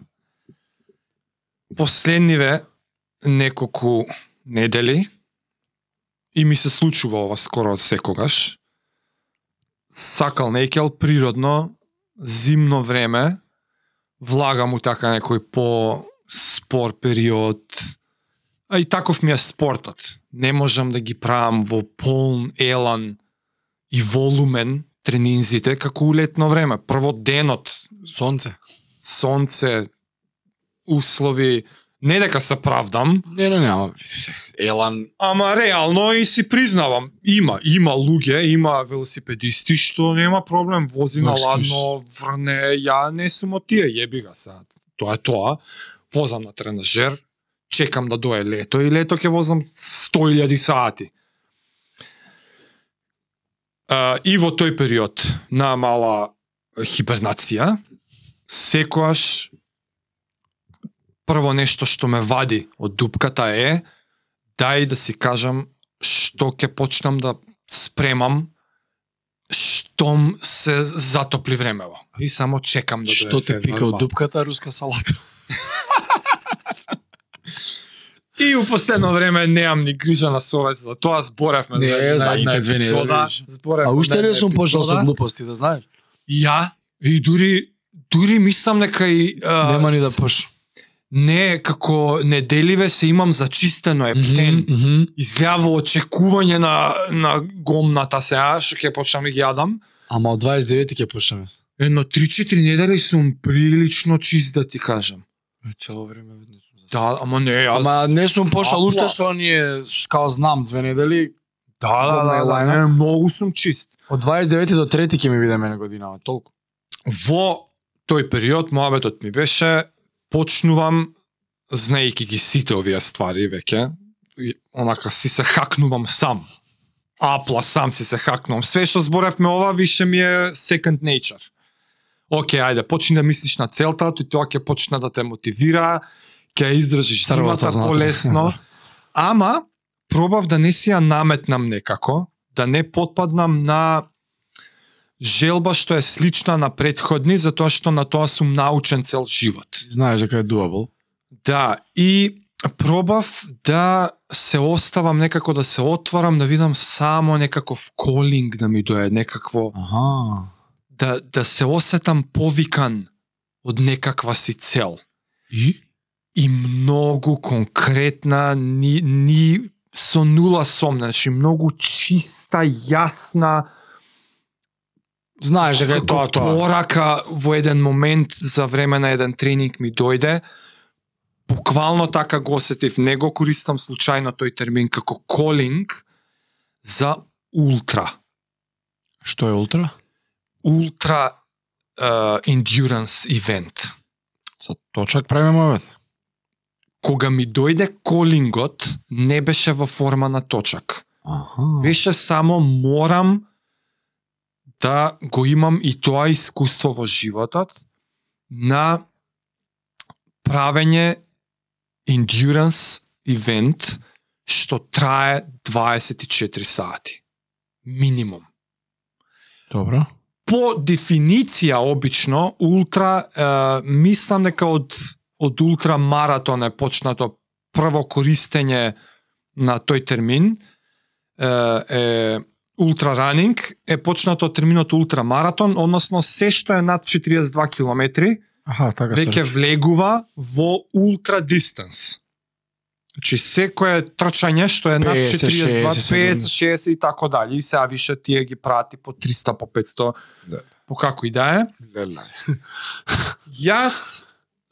B: Последниве неколку недели и ми се случува ова скоро од секогаш. Сакал некел природно зимно време влага му така некој по спор период. А и таков ми е спортот. Не можам да ги правам во полн елан и волумен тренинзите како у летно време. Прво денот,
A: Сонце.
B: сонце, услови, не дека се правдам,
A: Не, не, нема. Елан.
B: Ама реално и си признавам, има, има луѓе, има велосипедисти што нема проблем, вози на
A: Мрскиш.
B: ладно, врне, ја не сум од тие, јеби га сега. Тоа е тоа. Возам на тренажер, чекам да дое лето и лето ќе возам 100.000 сати. А, и во тој период на мала хибернација, секојаш прво нешто што ме вади од дупката е дај да си кажам што ќе почнам да спремам штом се затопли времево. И само чекам да дое
A: Што те
B: февруар,
A: пика од
B: март.
A: дупката, руска салата.
B: И у последно време немам ни грижа на совест за тоа, зборевме
A: Не,
B: за една
A: задните две недели,
B: епизода.
A: видиш.
B: Зборевме
A: А уште
B: на
A: не
B: една
A: сум почнал со
B: епизода.
A: глупости, Така, да знаеш.
B: Ја, и дури дури мислам дека и а,
A: Нема ни да пош.
B: не како неделиве се имам зачистено ептен. Mm -hmm.
A: мгм.
B: Изгледа во очекување на на гомната сега што ќе почнам да ги јадам.
A: Ама од 29 ќе почнеме.
B: Едно 3-4 недели сум прилично чист да ти кажам.
A: Цело време не сум.
B: Да, ама не, јас...
A: Ама не сум пошал
B: Апла.
A: уште со оние, ш- као знам, две недели,
B: да, да, да, да,
A: онлайн-а.
B: не, многу сум чист.
A: Од 29 до 3 ќе ми биде мене годинава, толку.
B: во тој период моабетот ми беше почнувам знаејќи ги сите овие ствари веќе и онака си се хакнувам сам. Апла сам си се хакнувам. Све што зборевме ова више ми е second nature. Океј, ајде, почни да мислиш на целта, тој тоа ќе почне да те мотивира, ќе ја издржиш
A: Црвото,
B: зимата
A: знаете.
B: полесно. Ама, пробав да не си ја наметнам некако, да не потпаднам на желба што е слична на предходни, затоа што на тоа сум научен цел живот.
A: Знаеш дека е дуабл.
B: Да, и пробав да се оставам некако да се отварам, да видам само некаков колинг да ми дое, некакво
A: Аха.
B: да да се осетам повикан од некаква си цел
A: И?
B: и многу конкретна, ни, ни со нула сом, значи многу чиста, јасна,
A: Знаеш дека е
B: како
A: тоа тоа.
B: порака во еден момент за време на еден тренинг ми дојде, буквално така го осетив, не го користам случајно тој термин како колинг за ултра.
A: Што е ултра?
B: Ултра uh, endurance event.
A: Со точак преме момент.
B: Кога ми дојде колингот, не беше во форма на точак.
A: Аха.
B: Беше само морам да го имам и тоа искуство во животот на правење endurance event што трае 24 сати. Минимум.
A: Добро.
B: По дефиниција обично ултра е, мислам дека од од ултра маратон е почнато прво користење на тој термин е, е ултра ранинг е почнато од терминот ултра маратон, односно се што е над 42 километри
A: Аха, така се.
B: веќе влегува во ултра дистанс. Значи секое трчање што е над
A: 50,
B: 42,
A: 60,
B: 50, 60 и тако дали, и сега више тие ги прати по 300, по 500,
A: Да.
B: по како и да е.
A: рече.
B: Јас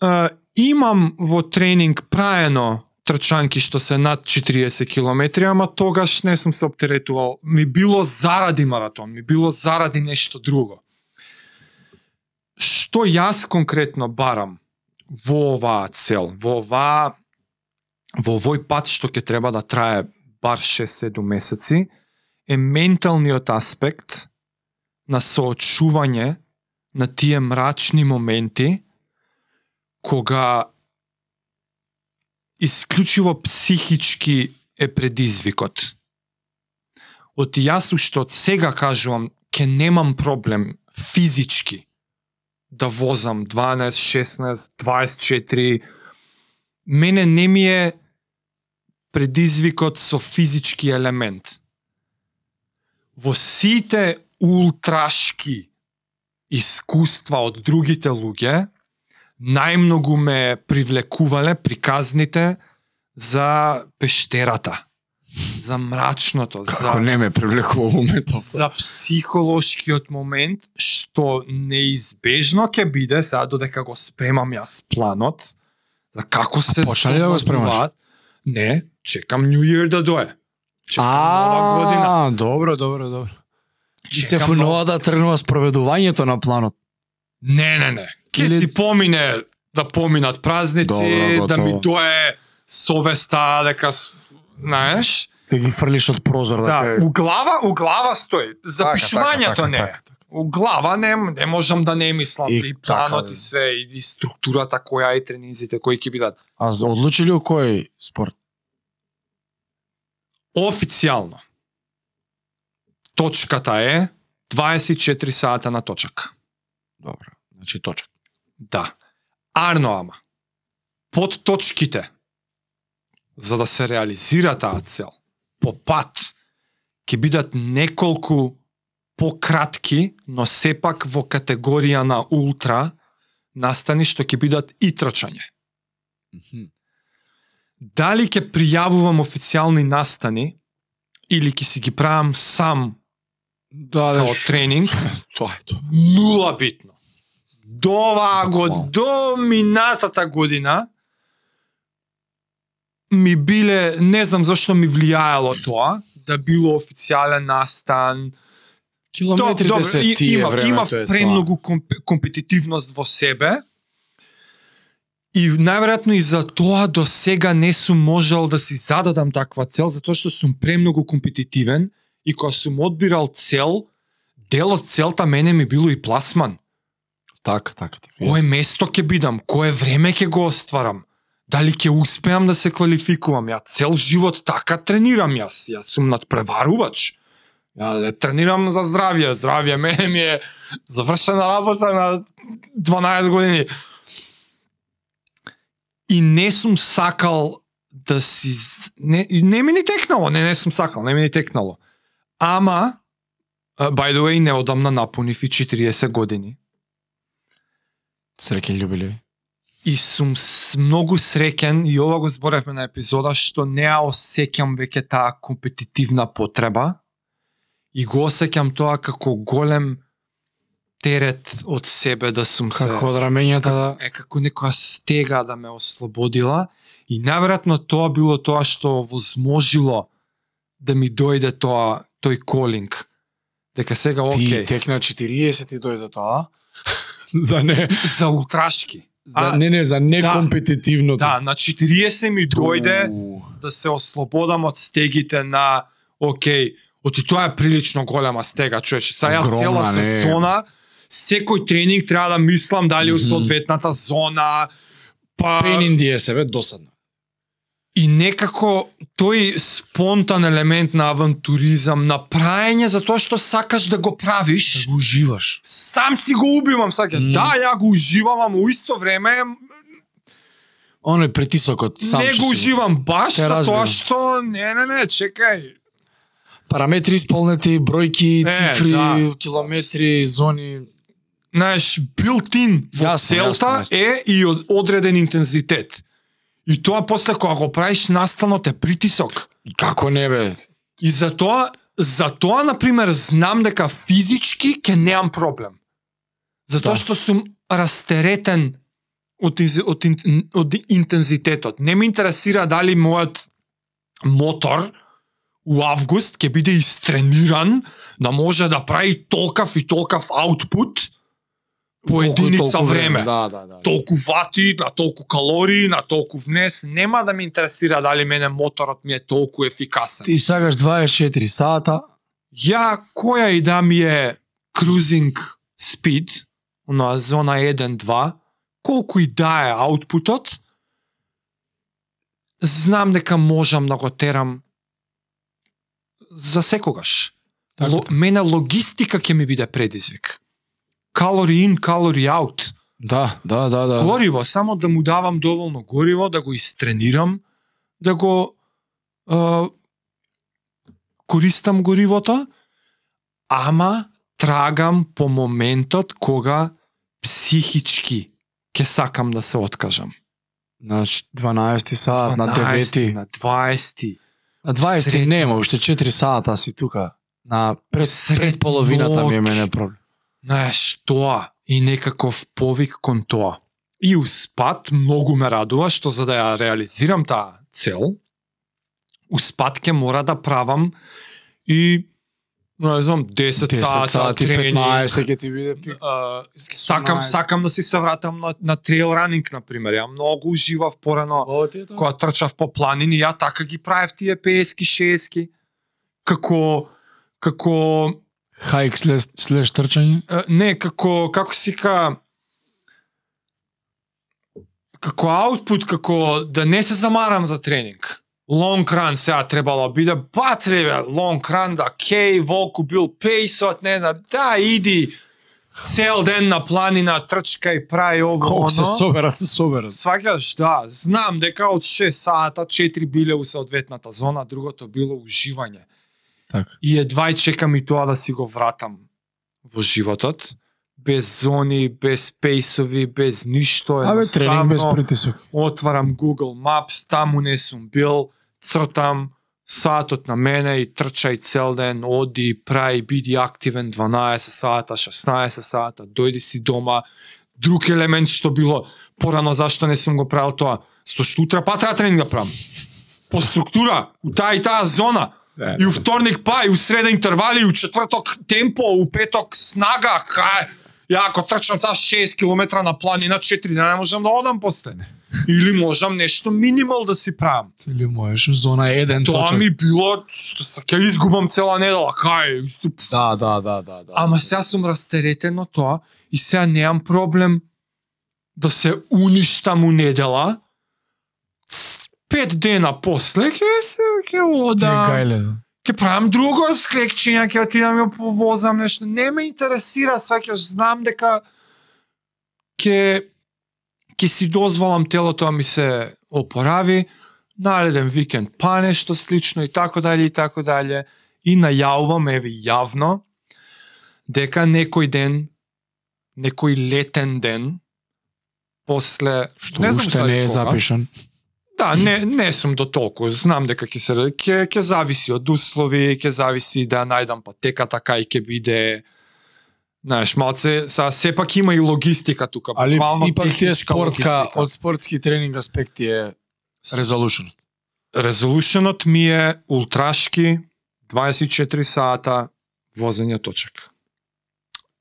B: е, имам во тренинг праено трчанки што се над 40 километри, ама тогаш не сум се оптеретувал. Ми било заради маратон, ми било заради нешто друго. Што јас конкретно барам во оваа цел, во оваа во овој пат што ќе треба да трае бар 6-7 месеци е менталниот аспект на соочување на тие мрачни моменти кога исклучиво психички е предизвикот. От јас што од сега кажувам, ке немам проблем физички да возам 12, 16, 24. Мене не ми е предизвикот со физички елемент. Во сите ултрашки искуства од другите луѓе најмногу ме привлекувале приказните за пештерата, за мрачното,
A: Како
B: за
A: не ме привлекува умето.
B: за психолошкиот момент што неизбежно ќе биде сега додека го спремам јас планот за како се
A: почна ли да го спремаш?
B: совладуваат. Не, чекам New Year да дое. Чекам нова година.
A: А, добро, добро, добро. И се
B: Чекам
A: фунува да тренува спроведувањето на планот.
B: Не, не, не. Ке
A: Или-
B: си помине да поминат празници,
A: Добро,
B: да
A: готово.
B: ми дое совеста дека с- знаеш.
A: Да ги фрлиш од прозор
B: Да,
A: те-
B: у глава, у глава стои.
A: Така,
B: Запишувањето не. е. у глава не, не можам да не мислам
A: И
B: и, планот
A: така,
B: и све и, и структурата која е и тренинзите кои ќе бидат.
A: А за- одлучи ли у кој спорт?
B: Официјално точката е 24 сата на точак.
A: Добро. Значи точка.
B: Да. Арно ама под точките за да се реализира таа цел по пат ќе бидат неколку пократки, но сепак во категорија на ултра настани што ќе бидат и трчање. дали ќе пријавувам официјални настани или ќе си ги правам сам
A: Да, да.
B: као тренинг,
A: Тоа е тоа.
B: нула битно. До оваа
A: Буквално.
B: год, до минатата година ми биле, не знам зашто ми влијаело тоа, да било официјален настан.
A: Километри
B: Добро, и-
A: десет е
B: имав- имав
A: времето е тоа.
B: премногу комп- компетитивност во себе. И најверојатно и за тоа до сега не сум можел да си зададам таква цел, затоа што сум премногу компетитивен и кога сум одбирал цел, дел од целта мене ми било и пласман.
A: Така, така, така.
B: Кое место ќе бидам, кое време ќе го остварам, дали ќе успеам да се квалификувам. Ја цел живот така тренирам јас, јас сум надпреварувач. Ја не тренирам за здравје, здравје мене ми е завршена работа на 12 години. И не сум сакал да си... Не, не ми ни текнало, не, не сум сакал, не ми ни текнало. Ама, а, by the way, неодамна напунив и 40 години.
A: Среќен љубиле.
B: И сум с- многу среќен и ова го зборевме на епизода што не ја осеќам веќе таа компетитивна потреба и го осеќам тоа како голем терет од себе да сум се
A: Како од рамењата да...
B: е како некоја стега да ме ослободила и наверојатно тоа било тоа што возможило да ми дојде тоа тој колинг дека сега
A: Ти
B: окей
A: текна 40 и дојде тоа. (laughs) да не,
B: за утрашки
A: за,
B: а,
A: не, не, за некомпетитивното.
B: да на 40 ми дојде
A: Уу.
B: да се ослободам од стегите на окей, Оти тоа е прилично голема стега, човече. Сега ја
A: Огромна,
B: цела
A: не.
B: сезона, секој тренинг треба да мислам дали е у
A: Мгм.
B: соодветната зона, па
A: Pain in the ass, е, бе, досадно.
B: и некако тој спонтан елемент на авантуризам, на праење за тоа што сакаш да го правиш.
A: го уживаш.
B: Сам си го убивам, саке.
A: Мм.
B: Да, ја го уживам, ама у исто време
A: Оно е притисокот сам
B: не
A: што
B: го
A: си
B: уживам баш
A: Те
B: за тоа
A: разбирам.
B: што не, не, не, чекај.
A: Параметри исполнети, бројки,
B: Е,
A: цифри,
B: да.
A: километри, зони.
B: знаеш, билтин во
A: Јасно, јасно,
B: целта
A: јасно.
B: е и од- одреден интензитет. И тоа после кога го правиш настално те притисок.
A: Како не бе?
B: И затоа, затоа на пример знам дека физички ќе немам проблем. Затоа
A: Да.
B: што сум растеретен од, из, од, ин- од интензитетот. Не ме интересира дали мојот мотор у август ќе биде истрениран да може да прави толкав и толкав аутпут по
A: Колку и
B: единица
A: толку
B: време.
A: Да, да, да.
B: Толку вати, на толку калории, на толку внес. Нема да ме интересира дали мене моторот ми е толку ефикасен
A: Ти сакаш 24 сата,
B: ја која и да ми е крузинг спид, на зона 1-2, колку и да е аутпутот, знам дека можам да го терам за секогаш.
A: Така,
B: Ло, мене логистика ќе ми биде предизвик. Калори ин, калори аут.
A: Да, да, да, да.
B: Гориво, само да му давам доволно гориво, да го истренирам, да го е, користам горивото, ама трагам по моментот кога психички ќе сакам да се откажам.
A: На 12 Значи, сат, на
B: 12,
A: 9.
B: на 20,
A: На 20
B: Сред-
A: нема, уште 4 сата си тука. На пред,
B: Сред
A: пред половината ми е
B: ноќ.
A: мене проблем.
B: знаеш, тоа и некаков повик кон тоа. И успат многу ме радува што за да ја реализирам таа цел, успат ќе мора да правам и не знам 10,
A: 10
B: сата,
A: сати,
B: тренинг,
A: 15 ќе ти биде пик.
B: а, сакам
A: 17.
B: сакам да си се вратам на на трейл ранинг на пример. Ја многу уживав порано
A: Ово ти е тоа?
B: кога трчав по планини, ја така ги правев тие 50-ки, 60-ки. Како како
A: Хайк слеш, слеш трчање?
B: Е, не, како, како си ка... Како аутпут, како да не се замарам за тренинг. Лонг ран сега требало да биде, ба треба лонг ран да кей, волку бил пейсот, не знам, да иди цел ден на планина, трчка и прај ово,
A: Колку се
B: оно.
A: соберат, се соберат.
B: Сваќаш, да, знам дека од 6 сата 4 биле у соодветната зона, другото било уживање
A: Така.
B: и едва и чекам и тоа да си го вратам во животот. Без зони, без пейсови, без ништо.
A: Абе, тренинг без
B: едноставно.
A: притисок.
B: Отварам Google Maps, таму не сум бил, цртам сатот на мене и трчај цел ден, оди, прај, биди активен 12 сата, 16 сата, дојди си дома. Друг елемент што било порано зашто не сум го правил тоа, што што утре па треба тренинг да правам. По структура, у таа и таа зона.
A: Да.
B: И у вторник па, и у среда интервали, и у четврток темпо, у петок снага, кај. Ја ако трчам са 6 км на планина 4 дена не можам да одам после. Или можам нешто минимал да си правам.
A: Или можеш у зона 1
B: Тоа
A: точак.
B: ми било што се ќе изгубам цела недела, кај.
A: Да, да, да, да, да.
B: Ама сега сум растеретен од тоа и сега немам проблем да се уништам у недела. Ц- Пет дена после ќе се ќе одам
A: да.
B: ќе правам друго склекчиња, ќе отидам ја повозам нешто. Не ме интересира, сваќаш, знам дека ќе ќе си дозволам телото да ми се опорави, нареден викенд па нешто слично и така дале и така дале и најавувам еве јавно дека некој ден некој летен ден после
A: Што уште
B: сега
A: не е
B: кога,
A: запишан.
B: Да, не, не сум до толку. Знам дека ќе се ќе ќе зависи од услови, ќе зависи да ја најдам патеката кај ќе биде. Знаеш, малце, са, сепак има и логистика тука.
A: Али
B: буквално
A: ипак ти е
B: техничка
A: спортска,
B: логистика.
A: од спортски тренинг аспект ти е резолушен.
B: Resolutionот ми е ултрашки 24 сата возење точек.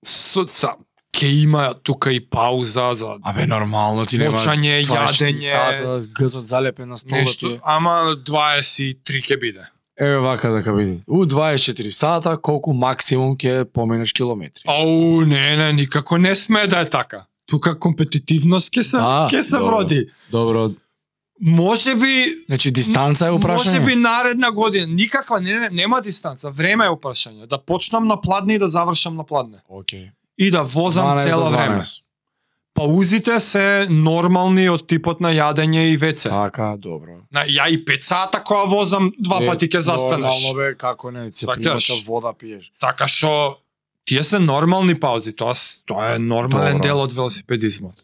B: Со, са, ке има тука и пауза за
A: Абе нормално ти нема. 24
B: мочање, јадење,
A: сата, гъзот залепен на столот.
B: нешто,
A: ти.
B: ама 23 ќе биде.
A: Еве вака да биде. У 24 сата колку максимум ќе поминеш километри.
B: Ау, не, не, никако не сме да е така. Тука компетитивност ќе се
A: А,
B: ќе се
A: Да, добро.
B: вроди.
A: Добро.
B: Може би
A: Значи дистанца е упрашање.
B: Може би наредна година, никаква не, не, нема дистанца, време е прашање. Да почнам на пладне и да завршам на пладне.
A: Океј.
B: И да возам
A: 12
B: цело
A: до
B: време.
A: 12.
B: Паузите се нормални од типот на јадење и веце.
A: Така, добро.
B: На ја и 5 сата која возам, два
A: Е,
B: пати ќе застанеш.
A: Нормално бе, како не, се
B: Сваќаш.
A: примаш вода пиеш.
B: Така што тие се нормални паузи, тоа с- тоа е нормален
A: Добро.
B: дел од велосипедизмот.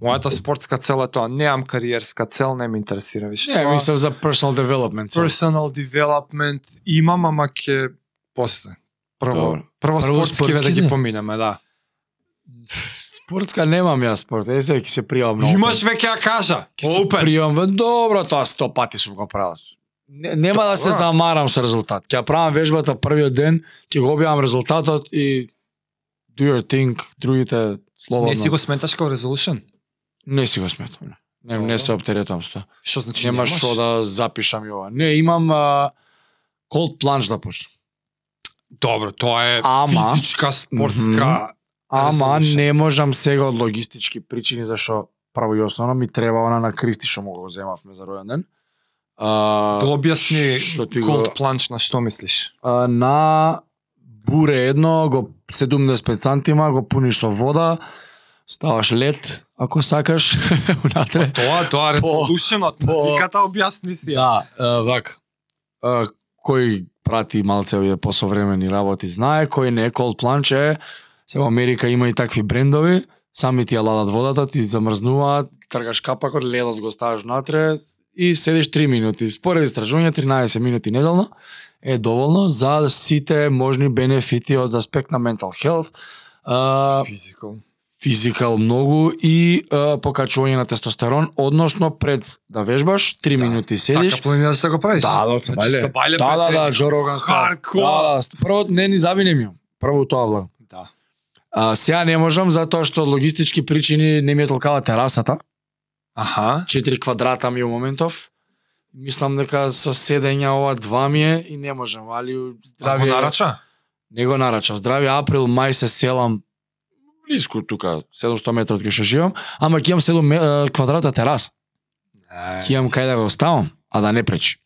B: Мојата спортска цел е тоа, немам кариерска цел, не ме интересира више.
A: Не,
B: Тоа-
A: мислам за personal development. цел.
B: personal development имам, ама ќе после. Прво,
A: Добро.
B: прво,
A: Прво
B: спортскиве да
A: спортски,
B: ги
A: да.
B: поминеме, да.
A: Спортска немам јас спорт, е сега ќе се пријавам на
B: Имаш веќе ја кажа.
A: Ќе се пријам, бе, добро, тоа сто пати сум го правил. Не, нема да се
B: Добра.
A: замарам со резултат. Ќе ја правам вежбата првиот ден, ќе го објавам резултатот и do your thing, другите слободно.
B: Не си го сметаш као resolution?
A: не си го сметам. Не, не,
B: Добро.
A: не се оптеретувам со тоа.
B: Што значи
A: Нема
B: немаш?
A: што да запишам и ова. Не, имам а, cold plunge да почнам.
B: Добро, тоа е
A: Ама-
B: физичка, спортска... Да,
A: Ама
B: Разумеш.
A: не можам сега од логистички причини зашо прво и основно ми треба она на Кристи што му го земавме за ројден ден. А,
B: Да објасни
A: што ти го-
B: cold plunge на што мислиш?
A: а, на буре едно, го 70 цантима, го пуниш со вода, ставаш лед, ако сакаш, (laughs) унатре.
B: Тоа, тоа е
A: По-
B: resolution од
A: по-
B: музиката, објасни си. ја.
A: Да, а, вак. А, кој прати малце овие посовремени работи знае, кој не, Cold Plunge е, сега Америка има и такви брендови, сами ти ја ладат водата, ти замрзнуваат, тргаш капакот, ледот го ставаш внатре и седиш 3 минути. Според истражување 13 минути неделно е доволно за сите можни бенефити од аспект на mental health. А,
B: Physical.
A: физикал многу и а, покачување на тестостерон, односно пред да вежбаш 3
B: Да.
A: минути седиш,
B: Така планираш да го правиш?
A: да, да,
B: Значи,
A: Бајле.
B: со Бајле
A: Да, да,
B: претреби.
A: да, Джо Роган стайл.
B: Хардкор.
A: Да, да, ст- прво не ни забине ми. ја. Прво тоа влагам.
B: Да.
A: А, сега не можам затоа што од логистички причини не ми е толкава терасата.
B: Аха.
A: 4 квадрата ми е у моментов. Мислам дека со седења ова два ми е и не можам, али у
B: Ако
A: здравје
B: нарача?
A: не го нарачав. Здравје април, мај се селам близко тука, 700 метра од кај што живам, ама ќе имам 7 ме- е, квадрата тераса. Ќе имам кај да го оставам, а да не пречи.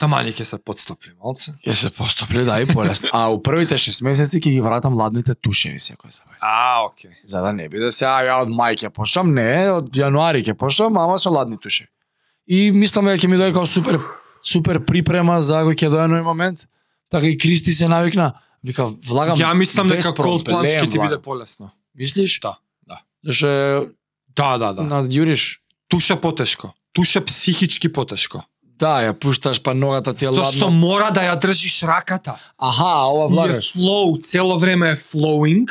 B: Тамани ќе се подстопли малце.
A: Ќе се постопли да и полесно. А у првите 6 месеци ќе ги вратам ладните тушеви секој забај.
B: А, окей.
A: За да не биде се, а ја од мај ќе почнам, не, од јануари ќе почнам, ама со ладни тушеви. И мислам дека ќе ми дојде као супер супер припрема за кој ќе дојде нови момент. Така и Кристи се навикна, вика влагам.
B: Ја мислам
A: без
B: дека
A: проблем,
B: Cold Plunge
A: леем
B: ќе ти биде
A: влагам.
B: полесно.
A: Мислиш?
B: Да, да.
A: Зашто е
B: Да, да, да.
A: над Јуриш.
B: Туша потешко. Туша психички потешко.
A: Да, ја пушташ па ногата ти е
B: Тоа што
A: ладна.
B: мора да ја држиш раката.
A: Аха, ова
B: И е
A: влагаш.
B: flow, цело време е flowing.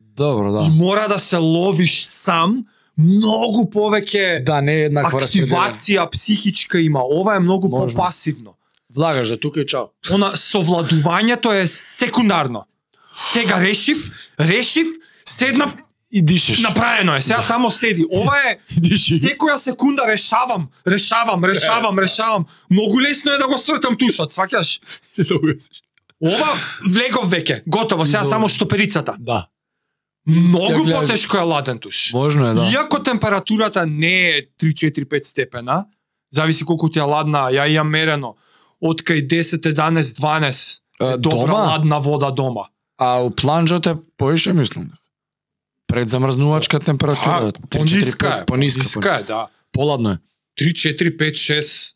A: Добро, да.
B: И мора да се ловиш сам. Многу повеќе
A: Да, не е еднакво распределено.
B: активација психичка има. Ова е многу
A: Можно.
B: попасивно.
A: Влагаш да тука и чао.
B: Она совладувањето е секундарно. Сега решив, решив, седнав,
A: И дишеш. (laughs)
B: направено е. Сега
A: Да.
B: само седи. Ова е
A: Диши.
B: Секоја секунда решавам, решавам, решавам, решавам. Многу лесно е да го свртам тушот, сваќаш? Ова влегов веќе, готово, сега
A: Добро.
B: само штоперицата.
A: Да. Ја
B: Многу
A: гледаш.
B: потешко е ладен туш.
A: Можно е, да.
B: Иако температурата не е 3-4-5 степена, зависи колку ти е ладна, ја имам мерено, од кај 10, 11, 12 е
A: Е,
B: добра
A: дома?
B: ладна вода дома.
A: А у планџот е поише, мислам. Пред замрзнувачка температура.
B: А, пониска е,
A: пониска,
B: пониска е, да.
A: Поладно е.
B: 3, 4, 5, 6,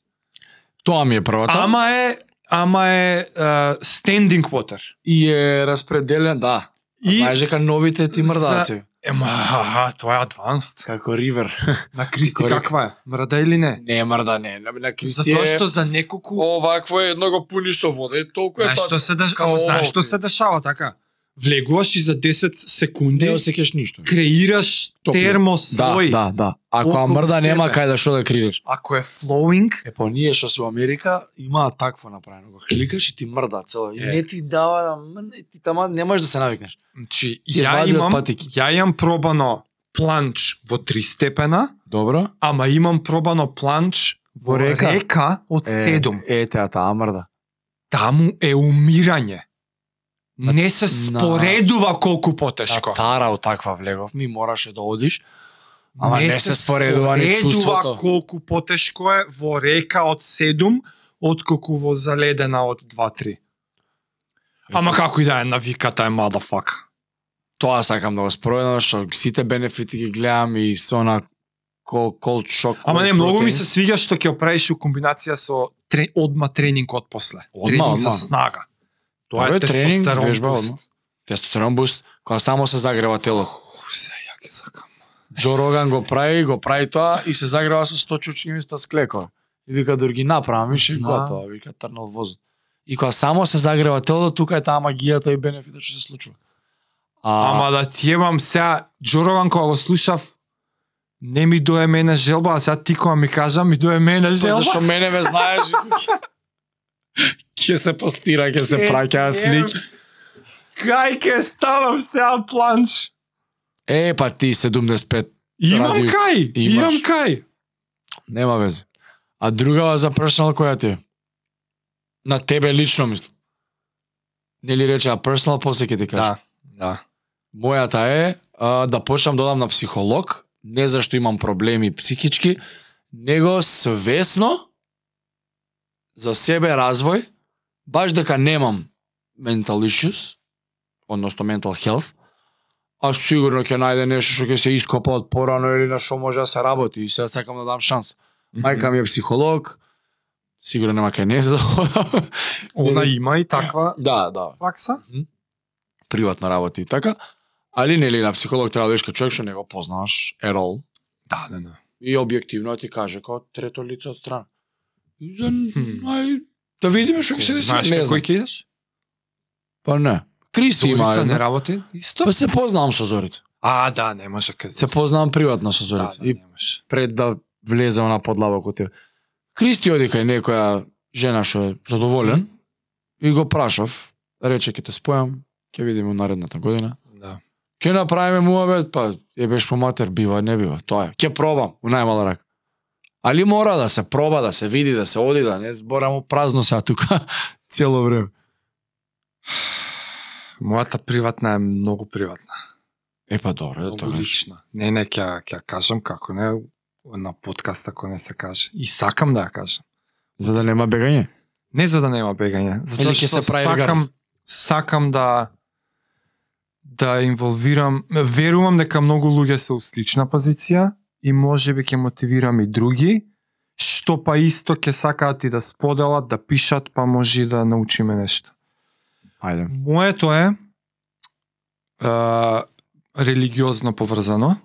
A: Тоа ми е првата.
B: Ама е ама е uh, standing water.
A: И е распределен, да. И... Знаеш дека новите ти мрдаци.
B: ема аха, тоа е advanced.
A: Како ривер.
B: На Кристи
A: Корек.
B: каква е? Мрда или не?
A: Не мрда, не. На, на Кристи
B: Затоа
A: е...
B: што за неколку
A: Овакво е, едно го пуниш со вода и толку е
B: Знаеш
A: тоа.
B: што се деш...
A: Као
B: знаеш што
A: овде.
B: се дешава така? Влегуваш и за 10 секунди
A: Не осеќаш ништо.
B: креираш
A: Топлина.
B: термо
A: Да,
B: слој.
A: да, да. Ако а
B: Околу
A: мрда
B: себе.
A: нема кај да што да криеш.
B: Ако е flowing,
A: Е па ние што се во Америка имаа такво направено. Го кликаш и ти мрда цело. И
B: Е.
A: не ти дава да мрне, ти тама не можеш да се навикнеш.
B: значи
A: Ти
B: ја
A: вади од
B: имам
A: патики.
B: ја имам пробано планч во 3 степена,
A: Добро.
B: ама имам пробано планч во
A: Во река?
B: река, од 7.
A: Е, е теа таа мрда.
B: таму е умирање. Не се
A: на- Да,
B: споредува колку потешко.
A: На тара од таква влегов, ми мораше да одиш. Ама не се споредува ни чувството.
B: споредува колку потешко е во река од 7 отколку во заледена од 2-3. Ама како и да е навиката е мада фака.
A: Тоа сакам да го споредам, што сите бенефити ги гледам и со на кол кол шок.
B: Ама не,
A: cold
B: многу ми
A: proteins.
B: се свиѓа што ќе го правиш у комбинација со тре, одма тренинг од после.
A: Одма,
B: тренинг за
A: одма.
B: снага. Тоа
A: Добро
B: е тестостерон
A: вежба,
B: буст.
A: одма. Тестостерон буст, кога само се загрева тело.
B: Ух, Се, ја ќе сакам.
A: Джо Роган го прави, го прави тоа и се загрева со 100 чучни и 100 склеко. И вика други направам, више
B: Знам.
A: готово, вика трнал возот. И кога само се загрева телото, тука е таа магијата и бенефитот што се случува. А,
B: Ама да ти јебам сега, Джорован кога го слушав, не ми дое мене желба, а сега ти кога ми кажа, ми дое мене
A: Па
B: желба.
A: зашо мене ме знаеш. Ќе се постира, ќе се
B: Е,
A: праќаат слики.
B: Кај ке станам сега планч?
A: Е, па ти 75.
B: Имам
A: Радиус.
B: кај,
A: Имаш.
B: имам кај.
A: Нема везе. А другава за personal која ти е? На тебе лично мислам. Нели речеа personal, после ќе ти кажам.
B: да.
A: Мојата е а, да почнам да одам на психолог, не зашто имам проблеми психички, него свесно за себе развој, баш дека немам mental issues, односно mental health, а сигурно ќе најде нешто што ќе се ископа од порано или на што може да се работи и сега сакам да дам шанс. Мајка ми е психолог, сигурно нема кај не за (laughs)
B: Она има и таква
A: Да, да
B: пракса.
A: приватно работи и така. Али нели на психолог треба да идеш кај човек што не го познаваш at all
B: Да, да, да.
A: и објективно ти каже како трето лице од страна. И За
B: Хм.
A: нај да видиме што ќе се
B: Знаеш
A: деси, не
B: кај
A: знам.
B: кој ќе идеш?
A: Па не. Крис има.
B: Зорица не
A: Не...
B: работи? Исто?
A: Па се познавам со Зорица.
B: А, да, не може кај...
A: Се познавам приватно со
B: да,
A: Зорица
B: да,
A: и
B: не може.
A: пред да влезам на подлабоко те. Кристи оди кај некоја жена што е задоволен и го прашав, рече ќе те спојам, ќе видиме наредната година.
B: Да.
A: Ке направиме муабет, па е беш по матер, бива, не бива, тоа е. Ке пробам, у најмала рака. Али мора да се проба, да се види, да се оди, да не зборам у празно сега тука (laughs) цело време.
B: Мојата приватна е многу приватна.
A: Е па добро, да
B: Многу
A: тоа кажеш.
B: лична. Не, не, ќе ќе ја кажам како не на подкаст ако не се каже. И сакам да ја кажам.
A: За да нема бегање.
B: Не за да нема бегање, затоа
A: Или ќе
B: што
A: се прави
B: сакам
A: веганец.
B: сакам да да инволвирам, верувам дека многу луѓе се у слична позиција и може би ќе мотивирам и други, што па исто ќе сакаат и да споделат, да пишат, па може и да научиме нешто.
A: Ајде.
B: Моето е, а, религиозно поврзано.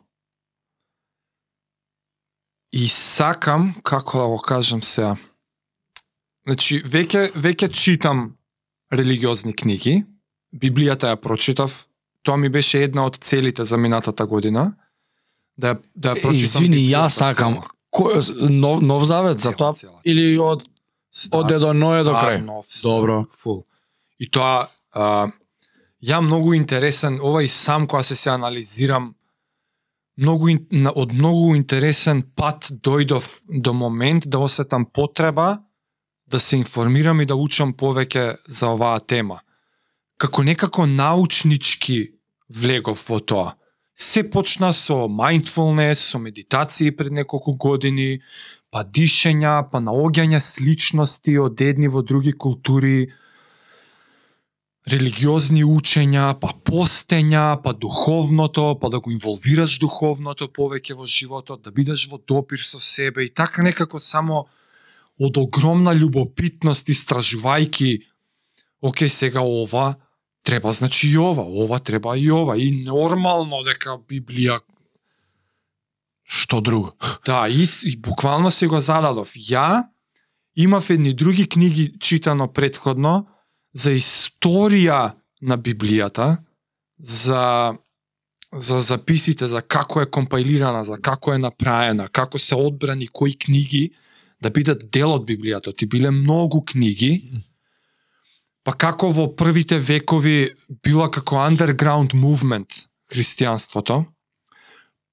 B: И сакам, како да го кажам сега, значи, веќе, веќе читам религиозни книги, Библијата ја прочитав, тоа ми беше една од целите за минатата година, да, ја- да ја
A: Е,
B: прочитам.
A: извини, ја
B: Библијата
A: сакам.
B: цела.
A: Кој, нов, нов завет за тоа?
B: Цела, цела.
A: Или од...
B: Стар-
A: Дедо Ноје до
B: стар,
A: крај.
B: нов,
A: Добро.
B: Фул. И тоа а, ја многу интересен, ова и сам кога се се анализирам многу ин- на- од многу интересен пат дојдов до момент да осетам потреба да се информирам и да учам повеќе за оваа тема. Како некако научнички влегов во тоа. Се почна со mindfulness, со медитации пред неколку години, па дишења, па наоѓање сличности од едни во други култури, религиозни учења, па постења, па духовното, па да го инволвираш духовното повеќе во животот, да бидеш во допир со себе и така некако само од огромна љубопитност истражувајки океј сега ова треба значи и ова, ова треба и ова и нормално дека Библија
A: Што друго?
B: Да, и, с- и буквално се го зададов. Ја имав едни други книги читано предходно за историја на Библијата, за за записите, за како е компаилирана, за како е направена, како се одбрани кои книги да бидат дел од Библијата. Ти биле многу книги, па како во првите векови била како underground movement христијанството,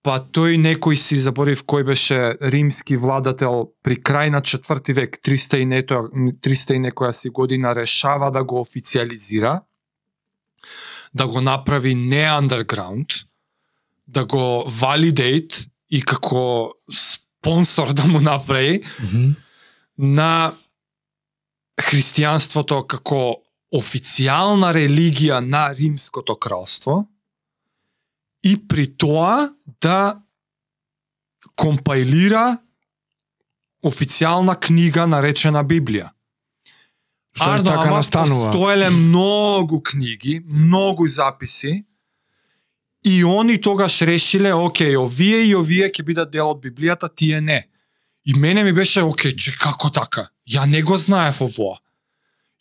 B: Па тој некој си заборив кој беше римски владател при крај на четврти век, 300 и, нето, 300 и некоја си година решава да го официализира, да го направи не underground, да го валидейт и како спонсор (laughs) да му направи
A: Мгм.
B: на христијанството како официјална религија на Римското кралство и при тоа да компајлира официјална книга наречена Библија.
A: Што и така
B: ама
A: настанува.
B: постоеле многу книги, многу записи и они тогаш решиле, окей, овие и овие ќе бидат дел од Библијата, тие не. И мене ми беше, окей, че како така? Ја не го знаев овоа.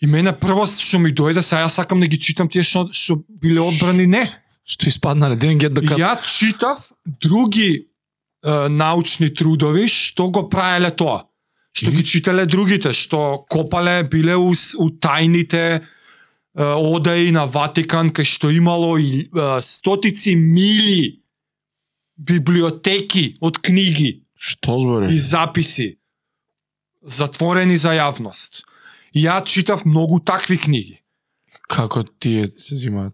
B: И мене прво што ми дојде, сега јас сакам да ги читам тие што, што биле одбрани, не.
A: Што испаднале, ден get the cut.
B: Ја читав други е, научни трудови што го праеле тоа. Што
A: Мгм.
B: ги читале другите, што копале, биле у, с- у тајните е, одаи на Ватикан, кај што имало и е, стотици мили библиотеки од книги
A: Што збори?
B: и записи затворени за јавност. И Ја читав многу такви книги.
A: Како тие се зимаат?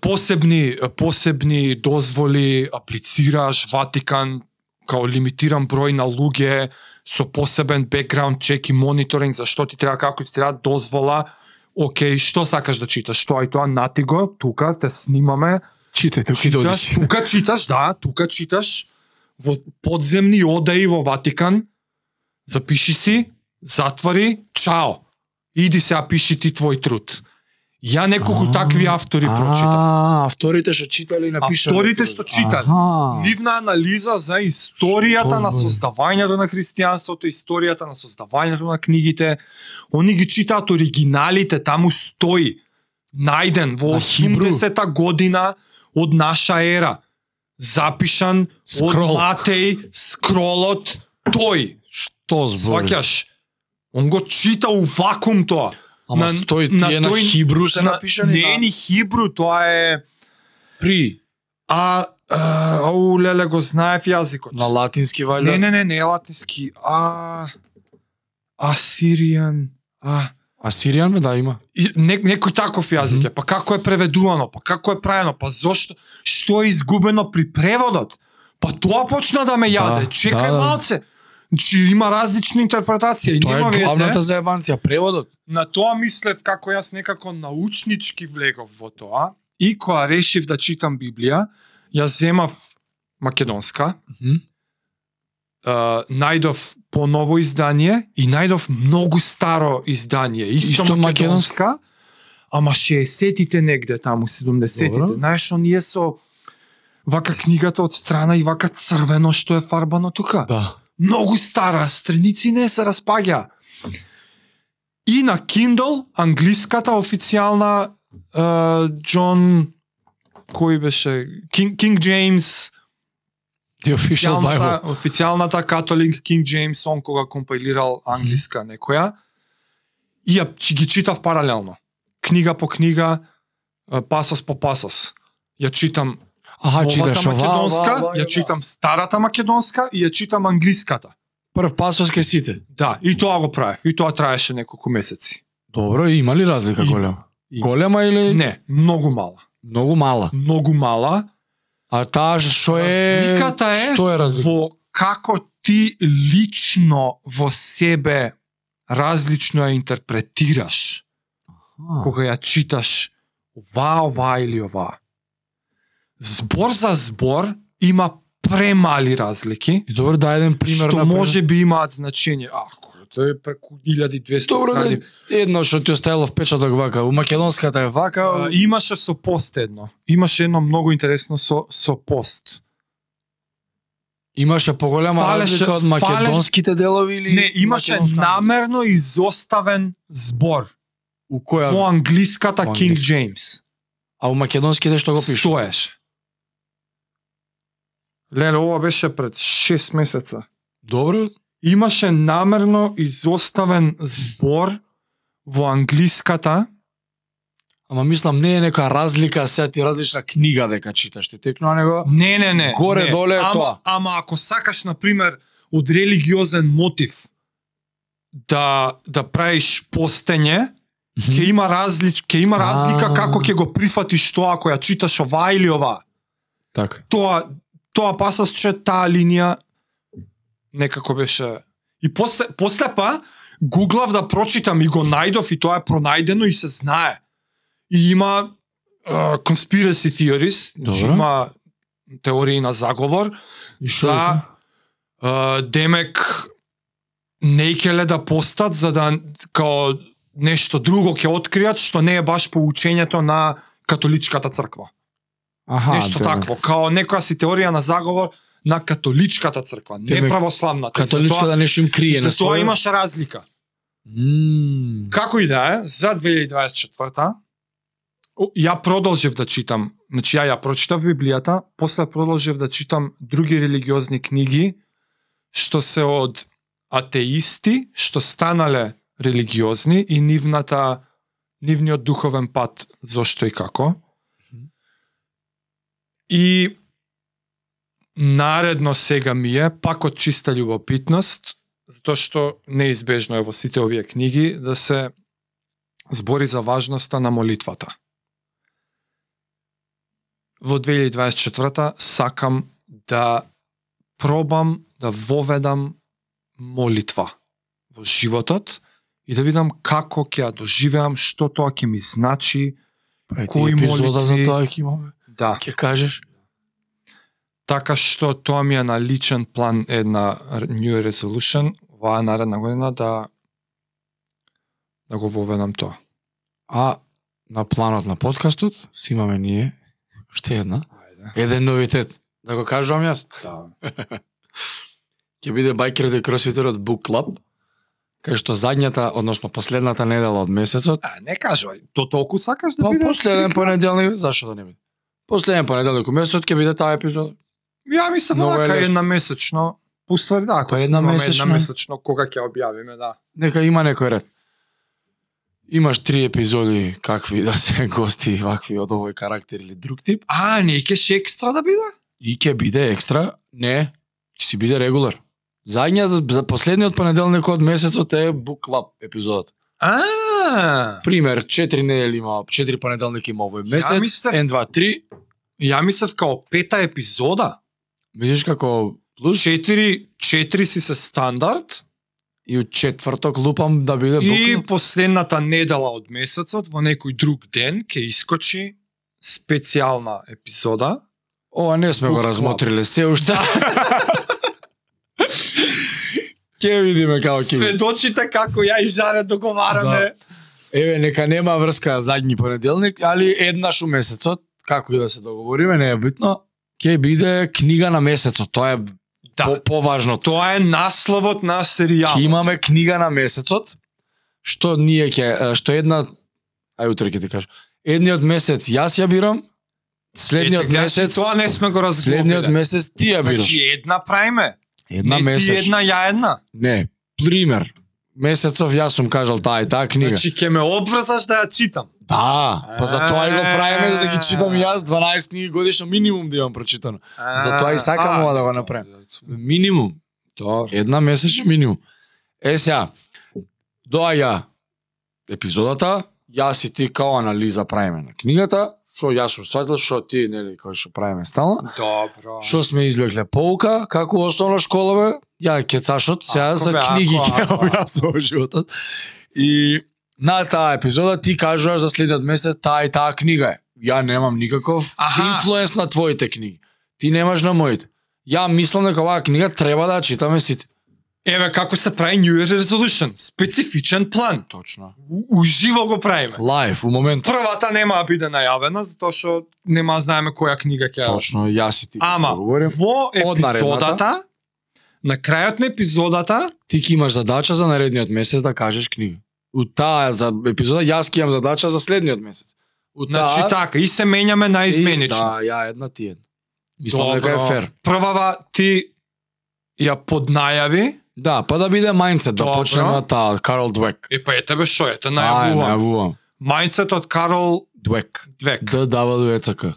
B: Посебни посебни дозволи аплицираш Ватикан као лимитиран број на луѓе со посебен бекграунд чек и мониторинг за што ти треба, како ти треба дозвола. Океј, што сакаш да читаш? Тоа и тоа, нати го, тука те снимаме,
A: Читајте, укидоди (laughs)
B: читаш,
A: си.
B: тука читаш, да, тука читаш во подземни одаи во Ватикан. Запиши си, затвори, чао. Иди сега пиши ти твој труд. Ја неколку
A: А,
B: такви автори прочитав.
A: А, авторите што читали и напишале.
B: Авторите што читали.
A: Аха.
B: Нивна анализа за историјата
A: Што
B: на
A: збори?
B: создавањето на христијанството, историјата на создавањето на книгите. Они ги читаат оригиналите, таму стои најден во
A: На хибру.
B: 80-та година од наша ера. Запишан
A: Скрол.
B: од Матеј, скролот, тој.
A: Што збори?
B: Сваќаш? Он го чита у вакуум тоа.
A: Ама
B: на-
A: стои
B: на
A: тие на,
B: тој-
A: хибру се
B: На-
A: напишани.
B: Не е
A: на-
B: ни хибру, тоа е...
A: при
B: А, а, ау, леле, го знаев јазикот.
A: на латински вајда.
B: Не, не, не, не е латински. А... Асиријан... А...
A: А сиријан бе да има.
B: и- Не, некој таков јазик е. Па како е преведувано? Па како е правено? Па зошто? Што е изгубено при преводот? Па тоа почна да ме јаде.
A: Да,
B: Чекај
A: да, да.
B: малце. Значи има различни интерпретации.
A: Тоа
B: Нема
A: е
B: везе.
A: главната заебанција, преводот.
B: на тоа мислев како јас некако научнички влегов во тоа и кога решив да читам Библија, јас земав македонска, е, најдов поново издание и најдов многу старо издание, исто,
A: Исто
B: исто
A: македонска?
B: македонска, ама 60-тите негде таму, 70-тите.
A: Добро.
B: Знаеш, оние со вака книгата од страна и вака црвено што е фарбано тука
A: Да.
B: многу стара, страници не се распаѓа. И на Kindle, англиската официјална Џон кој беше King, King James
A: The official
B: официјалната
A: Bible.
B: официјалната католик King James он кога компајлирал англиска некоја и ја чи- ги читав паралелно книга по книга е, пасас по пасас ја читам
A: Аха, читаш
B: новата
A: ова, ова,
B: македонска
A: ова,
B: ја
A: ова.
B: читам старата македонска и ја читам англиската
A: Прв пасос ке сите.
B: Да, и тоа го правев, и тоа траеше неколку месеци.
A: Добро, и има ли разлика
B: И-
A: голема?
B: и-
A: Голема или
B: Не, многу мала.
A: многу мала?
B: Многу мала.
A: А таа што е
B: Разликата е
A: што е разлика?
B: Во како ти лично во себе различно ја интерпретираш
A: А,
B: кога ја читаш ова, ова или ова. Збор за збор има премали разлики,
A: И добро, дај еден пример
B: што
A: например.
B: може би имаат значење. Ако тоа е преку 1200
A: Добро, да,
B: страни.
A: едно што ти оставило впечаток вака, у македонската е вака,
B: А, имаше со пост едно. Имаше едно многу интересно со со пост.
A: имаше поголема
B: фалеше-
A: разлика од
B: фалеш-
A: македонските делови или
B: Не, имаше
A: македонска англиска?
B: намерно изоставен збор
A: у која
B: во Да англиската
A: Во
B: King
A: англиска.
B: James.
A: а у македонските што го пише?
B: Стоеше. Леле, ова беше пред 6 месеца.
A: Добро,
B: Имаше намерно изоставен збор во англиската
A: Ама мислам, не е нека разлика, сега ти различна книга дека читаш ти текнува, него...
B: Не, не, не.
A: Горе,
B: не.
A: доле е
B: ама,
A: тоа.
B: Ама ако сакаш, на пример, од религиозен мотив да, да правиш постење, ќе има различ, ќе има разлика
A: А.
B: како ќе го прифатиш тоа ако ја читаш ова или ова.
A: Така.
B: Тоа тоа пасас че таа линија некако беше и после после па гуглав да прочитам и го најдов и тоа е пронајдено и се знае. И има uh, conspiracy theories, значи
A: Добро.
B: има теории на заговор
A: И што е
B: за
A: тоа?
B: а, демек не келе да постат за да као нешто друго ќе откријат што не е баш по учењето на католичката црква.
A: Аха,
B: А, нешто
A: демек.
B: такво, као некоја си теорија на заговор на католичката црква, не
A: Демек,
B: православната. И
A: Католичка да нешто им крие
B: за тоа, за тоа
A: своје.
B: имаш разлика.
A: Мм.
B: Како и да е, за 2024 о, ја продолжив да читам, значи ја ја прочитав Библијата, после продолжив да читам други религиозни книги што се од атеисти што станале религиозни и нивната нивниот духовен пат зошто и како.
A: Мгм.
B: И наредно сега ми е пак од чиста љубопитност, затоа што неизбежно е во сите овие книги да се збори за важноста на молитвата. Во 2024 сакам да пробам да воведам молитва во животот и да видам како ќе ја доживеам, што тоа ќе ми значи.
A: Па,
B: кои
A: кој епизода за
B: молитви-
A: тоа ќе имаме?
B: Да.
A: Ќе кажеш?
B: Така што тоа ми е на личен план една р- new resolution оваа наредна година да да го воведам тоа.
A: А на планот на подкастот си имаме ние уште една.
B: Ајде.
A: Еден новитет. Да го кажувам јас.
B: Да.
A: ќе биде Biker the Crossfitter од Book Club, кај што задњата, односно последната недела од месецот,
B: А, не кажувај, то толку сакаш да
A: па
B: биде?
A: последен понеделник, зашо да не биде? Последен понеделник у месецот ќе биде таа епизода.
B: Ја ми се
A: Много е
B: вака
A: лесно.
B: една месечно. Пуствар да, ако
A: Па
B: снимаме
A: едномесечно.
B: една месечно кога ќе објавиме, да.
A: Нека има некој ред. Имаш три епизоди какви да се (laughs) гости вакви од овој карактер или друг тип
B: А, не ќе екстра да биде?
A: и ќе биде екстра, не, ќе си биде регулар. Зајњата за последниот понеделник од месецот е Book Club епизодата.
B: А,
A: Пример, 4 недели има, 4 понеделник има овој
B: Ја
A: месец,
B: мислев-
A: N, 2, 3,
B: ја мислев као пета епизода.
A: Мислиш како плюс
B: Четири, четири си се стандард
A: и од четврток лупам да биде
B: и
A: буквално.
B: последната недела од месецот во некој друг ден ќе искочи специјална епизода.
A: Ова не сме го
B: Book
A: размотриле се уште. Ке видиме како (laughs) ќе биде.
B: Сведочите како ја и Жаре договараме.
A: Еве нека нема врска задњи понеделник, али еднаш у месецот, како и да се договориме, не е битно, ќе биде книга на месецот. Тоа е
B: Да.
A: по поважно.
B: Тоа е насловот на серијал.
A: Ќе имаме книга на месецот, што ние ќе, што една, ај утре ќе ти кажам, едниот месец јас ја бирам, следниот
B: Ете, гледаш,
A: месец,
B: Тоа не сме го разбориле.
A: следниот месец ти ја бираш.
B: Значи една праиме.
A: Една
B: не ти
A: месец.
B: една, ја една.
A: Не, пример. Месецов јас сум кажал таа и таа книга.
B: Значи ќе ме обврзаш да ја читам.
A: Да, па за тоа и го правиме за да ги читам јас 12 книги годишно минимум да имам прочитано. Затоа и сакам
B: А,
A: ова да го направам. Минимум,
B: Добро.
A: една месечно минимум. Е сега, доаѓа епизодата, јас и ти као анализа правиме на книгата, што јас сум сватил, што ти, нели, кој што правиме стално.
B: Добро.
A: Што сме извлекле поука, како у основна школа бе, ја кецашот, сега
B: Ако
A: за
B: бе, ако,
A: книги ќе
B: ако, ако.
A: објаснувам животот. И на таа епизода ти кажуваш за следниот месец таа и таа книга е. Ја немам никаков
B: Аха.
A: инфлуенс на твоите книги. Ти немаш на моите. Ја мислам дека оваа книга треба да ја читаме сите.
B: Еве како се прави New Year Resolution. Специфичен план.
A: Точно.
B: У- Уживо го правиме.
A: Лайф, у момент.
B: Првата нема да биде најавена, затоа што нема да знаеме која книга ќе ја
A: Точно, јас и ти
B: Ама,
A: Ама, говорим.
B: во
A: Од наредната.
B: епизодата, на крајот на епизодата,
A: Ти ќе имаш задача за наредниот месец да кажеш книга. У таа за епизода јас ќе имам задача за следниот месец. У таа
B: значи така, и се менјаме на изменично.
A: Да. И, Да, ја една ти една. Мислам дека е фер.
B: Првава ти ја поднајави.
A: Да, па да биде мајндсет, да
B: Добро.
A: почнеме од таа Карл Двек.
B: Е па ете бе шо, ете
A: Ај,
B: најавувам.
A: најавувам.
B: Мајндсет од Карол
A: Двек.
B: Двек.
A: Д W E C K.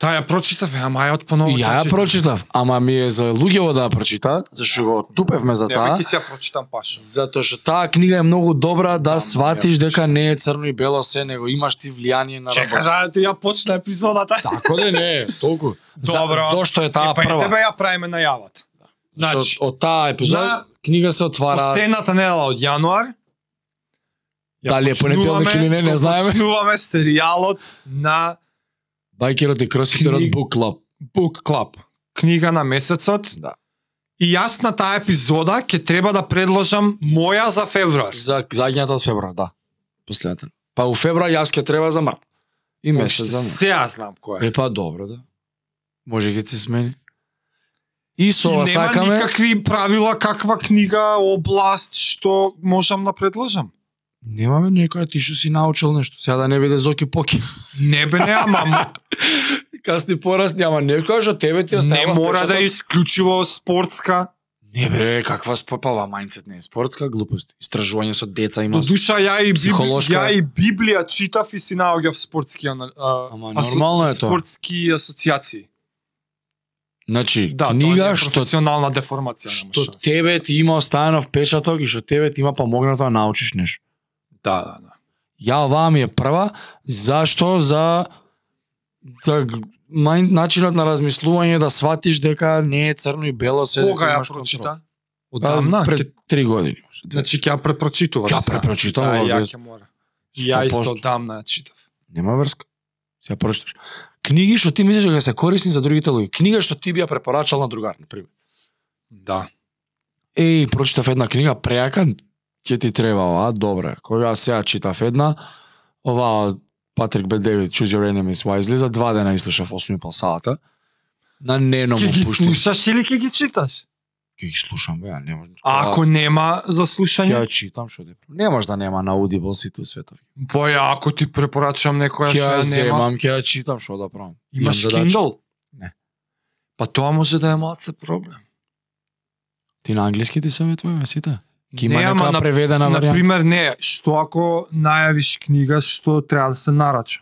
B: Та ја прочитав, ја маја од поново.
A: И ја ја прочитав, ама ми е за луѓево да ја прочита, зашто го тупевме за
B: Ја
A: таа.
B: ќе се ја прочитам паш.
A: Затоа што таа книга е многу добра да
B: Да,
A: сватиш
B: ја.
A: дека не е црно и бело се, него имаш ти влијание на
B: Чека,
A: работа.
B: за да ти ја почна епизодата.
A: Тако да не е, толку. За-
B: Добро.
A: Зошто е таа
B: Е, па и
A: прва?
B: Тебе ја правиме најавата.
A: Што
B: Значи,
A: од таа епизода
B: на-
A: книга се отвара.
B: последната недела од јануар. ја
A: Дали е понеделник
B: почнуваме-
A: или не, не
B: го
A: знаеме.
B: Почнуваме серијалот на
A: Байкерот и кросфитерот
B: Книг-
A: Book Club.
B: Book Club. Книга на месецот.
A: Да.
B: И јас на таа епизода ќе треба да предложам моја за февруар.
A: За заѓањата од февруар, да. Последната. Па у февруар јас ќе треба за март. И
B: Уште
A: месец за март.
B: Сеа знам кој е.
A: Е па добро да. Може ќе се смени. И со
B: И
A: ова
B: нема
A: сакаме
B: никакви правила каква книга, област што можам да предложам.
A: Немаме некоја ти што си научил нешто. Сега да не биде зоки поки.
B: (laughs) Не бе не, ама м-
A: Касни порасни, ама некоја што тебе (laughs) ти
B: не
A: остава.
B: мора да е исклучиво спортска.
A: Не бре, каква спопава мајндсет не е спортска глупост. Истражување со деца има.
B: До душа ја и
A: Психолошка
B: Психолошка...
A: е.
B: ја и Библија читав и си наоѓав спортски ана- а,
A: Ама нормално е тоа.
B: спортски асоциации.
A: Значи,
B: Да, тоа
A: книга
B: е
A: што
B: професионална деформација да нема
A: што
B: шанс.
A: тебе ти има останов печаток и што тебе ти има помогнато да научиш нешто.
B: Да, да, да.
A: Ја оваа ми е прва, зашто за за г- мајн, начинот на размислување да сватиш дека не е црно и бело се дека
B: Кога ја
A: имаш контрол.
B: прочита?
A: Па,
B: Одамна?
A: пред три години.
B: Значи ќе ја препрочитувам.
A: Ја препрочитам,
B: Да,
A: ова
B: ја
A: вез-
B: ќе мора. Ја
A: 100%.
B: исто одамна ја читав.
A: Нема врска. Се прочиташ. Книги што ти мислиш дека се корисни за другите луѓе. Книга што ти би ја препорачал на другар, на пример.
B: Да.
A: Еј, прочитав една книга преака, ќе ти треба оваа, добра. Кога сега читав една, оваа од Патрик Б. Девид, Choose Your Enemies Wisely, за два дена изслушав 8 палсалата. На нено му
B: Ќе ги
A: пуштам.
B: слушаш или ќе ги читаш?
A: Ќе ги слушам, бе, а не можам.
B: А ако нема за
A: ќе ја
B: слушање,
A: читам што да. Не може да нема на Audible сите светови.
B: па ја ако ти препорачам
A: Ќе
B: некоја што
A: ја
B: ја нема,
A: земам, ќе ја читам што да правам.
B: имаш
A: Имам задача.
B: Kindle?
A: Не.
B: Па тоа може да е малце проблем.
A: Ти на англиски ти советуваме сите? Ќе има
B: Не, ама
A: нека
B: на-
A: преведена
B: На
A: варијанта.
B: пример, не, што ако најавиш книга што треба да се нарача.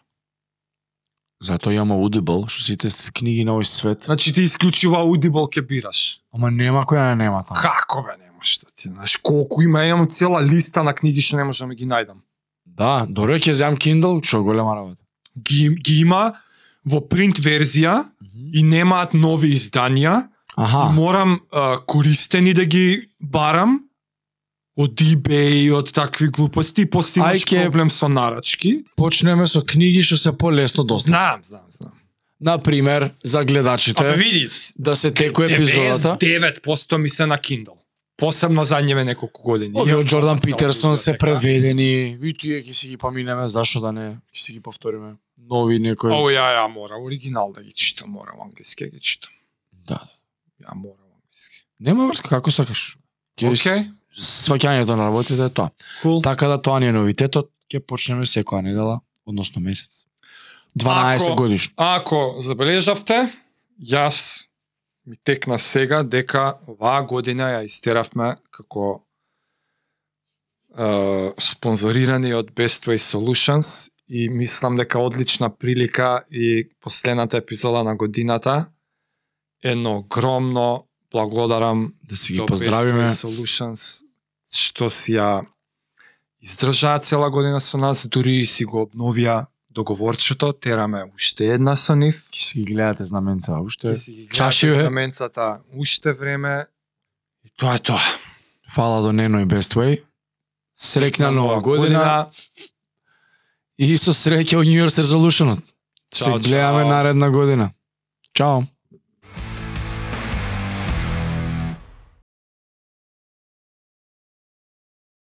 A: Затоа имаме Audible, што сите с- книги на овој свет.
B: Значи ти исклучиво Audible ќе бираш.
A: Ама нема која не нема таму.
B: Како бе немаш да ти, знаеш, колку има, имам цела листа на книги што не можам да ги најдам.
A: Да, добро ќе земам Kindle, што голема работа.
B: Ги, ги има во принт верзија и немаат нови изданија. И
A: Аха.
B: морам а, користени да ги барам од eBay, од такви глупости, и после имаш
A: Ај, ке-
B: проблем со нарачки.
A: Почнеме со книги што се полесно достапни.
B: Знам, знам, знам.
A: На пример, за
B: Абе
A: гледачите
B: види,
A: да се текува епизодата.
B: 99% ми се на Kindle. Посебно задњеве неколку години.
A: Овие од Джордан
B: Цела
A: Питерсон се
B: библиотека.
A: преведени. Ви тие ќе си ги поминеме, зашо да не? Ќе си ги повториме. Нови некои.
B: Оу, ја, ја мора оригинал да ги читам, морам англиски да ги читам.
A: Да.
B: Ја морам англиски.
A: Нема врска како сакаш. Ќе
B: Океј.
A: Сваќањето на работите е тоа.
B: Cool.
A: Така да тоа ни е новитетот, ќе почнеме секоја недела, односно месец. 12
B: Ако-
A: годишно.
B: Ако забележавте, јас ми текна сега дека оваа година ја истеравме како е, спонзорирани од Best Way Solutions и мислам дека одлична прилика и последната епизода на годината едно огромно благодарам
A: Да си ги
B: до
A: поздравиме.
B: Best Way Solutions што си ја издржаа цела година со нас, дури и си го обновија договорчето, тераме уште една со нив.
A: Ќе си ги гледате знаменца уште.
B: Ќе си ги
A: Чаши, бе.
B: гледате знаменцата уште време. И тоа е тоа.
A: Фала до Нено и Best Way. Срекна нова година и со среќа од New Year's Resolution.
B: Чао,
A: Се гледаме
B: чао.
A: наредна година. Чао.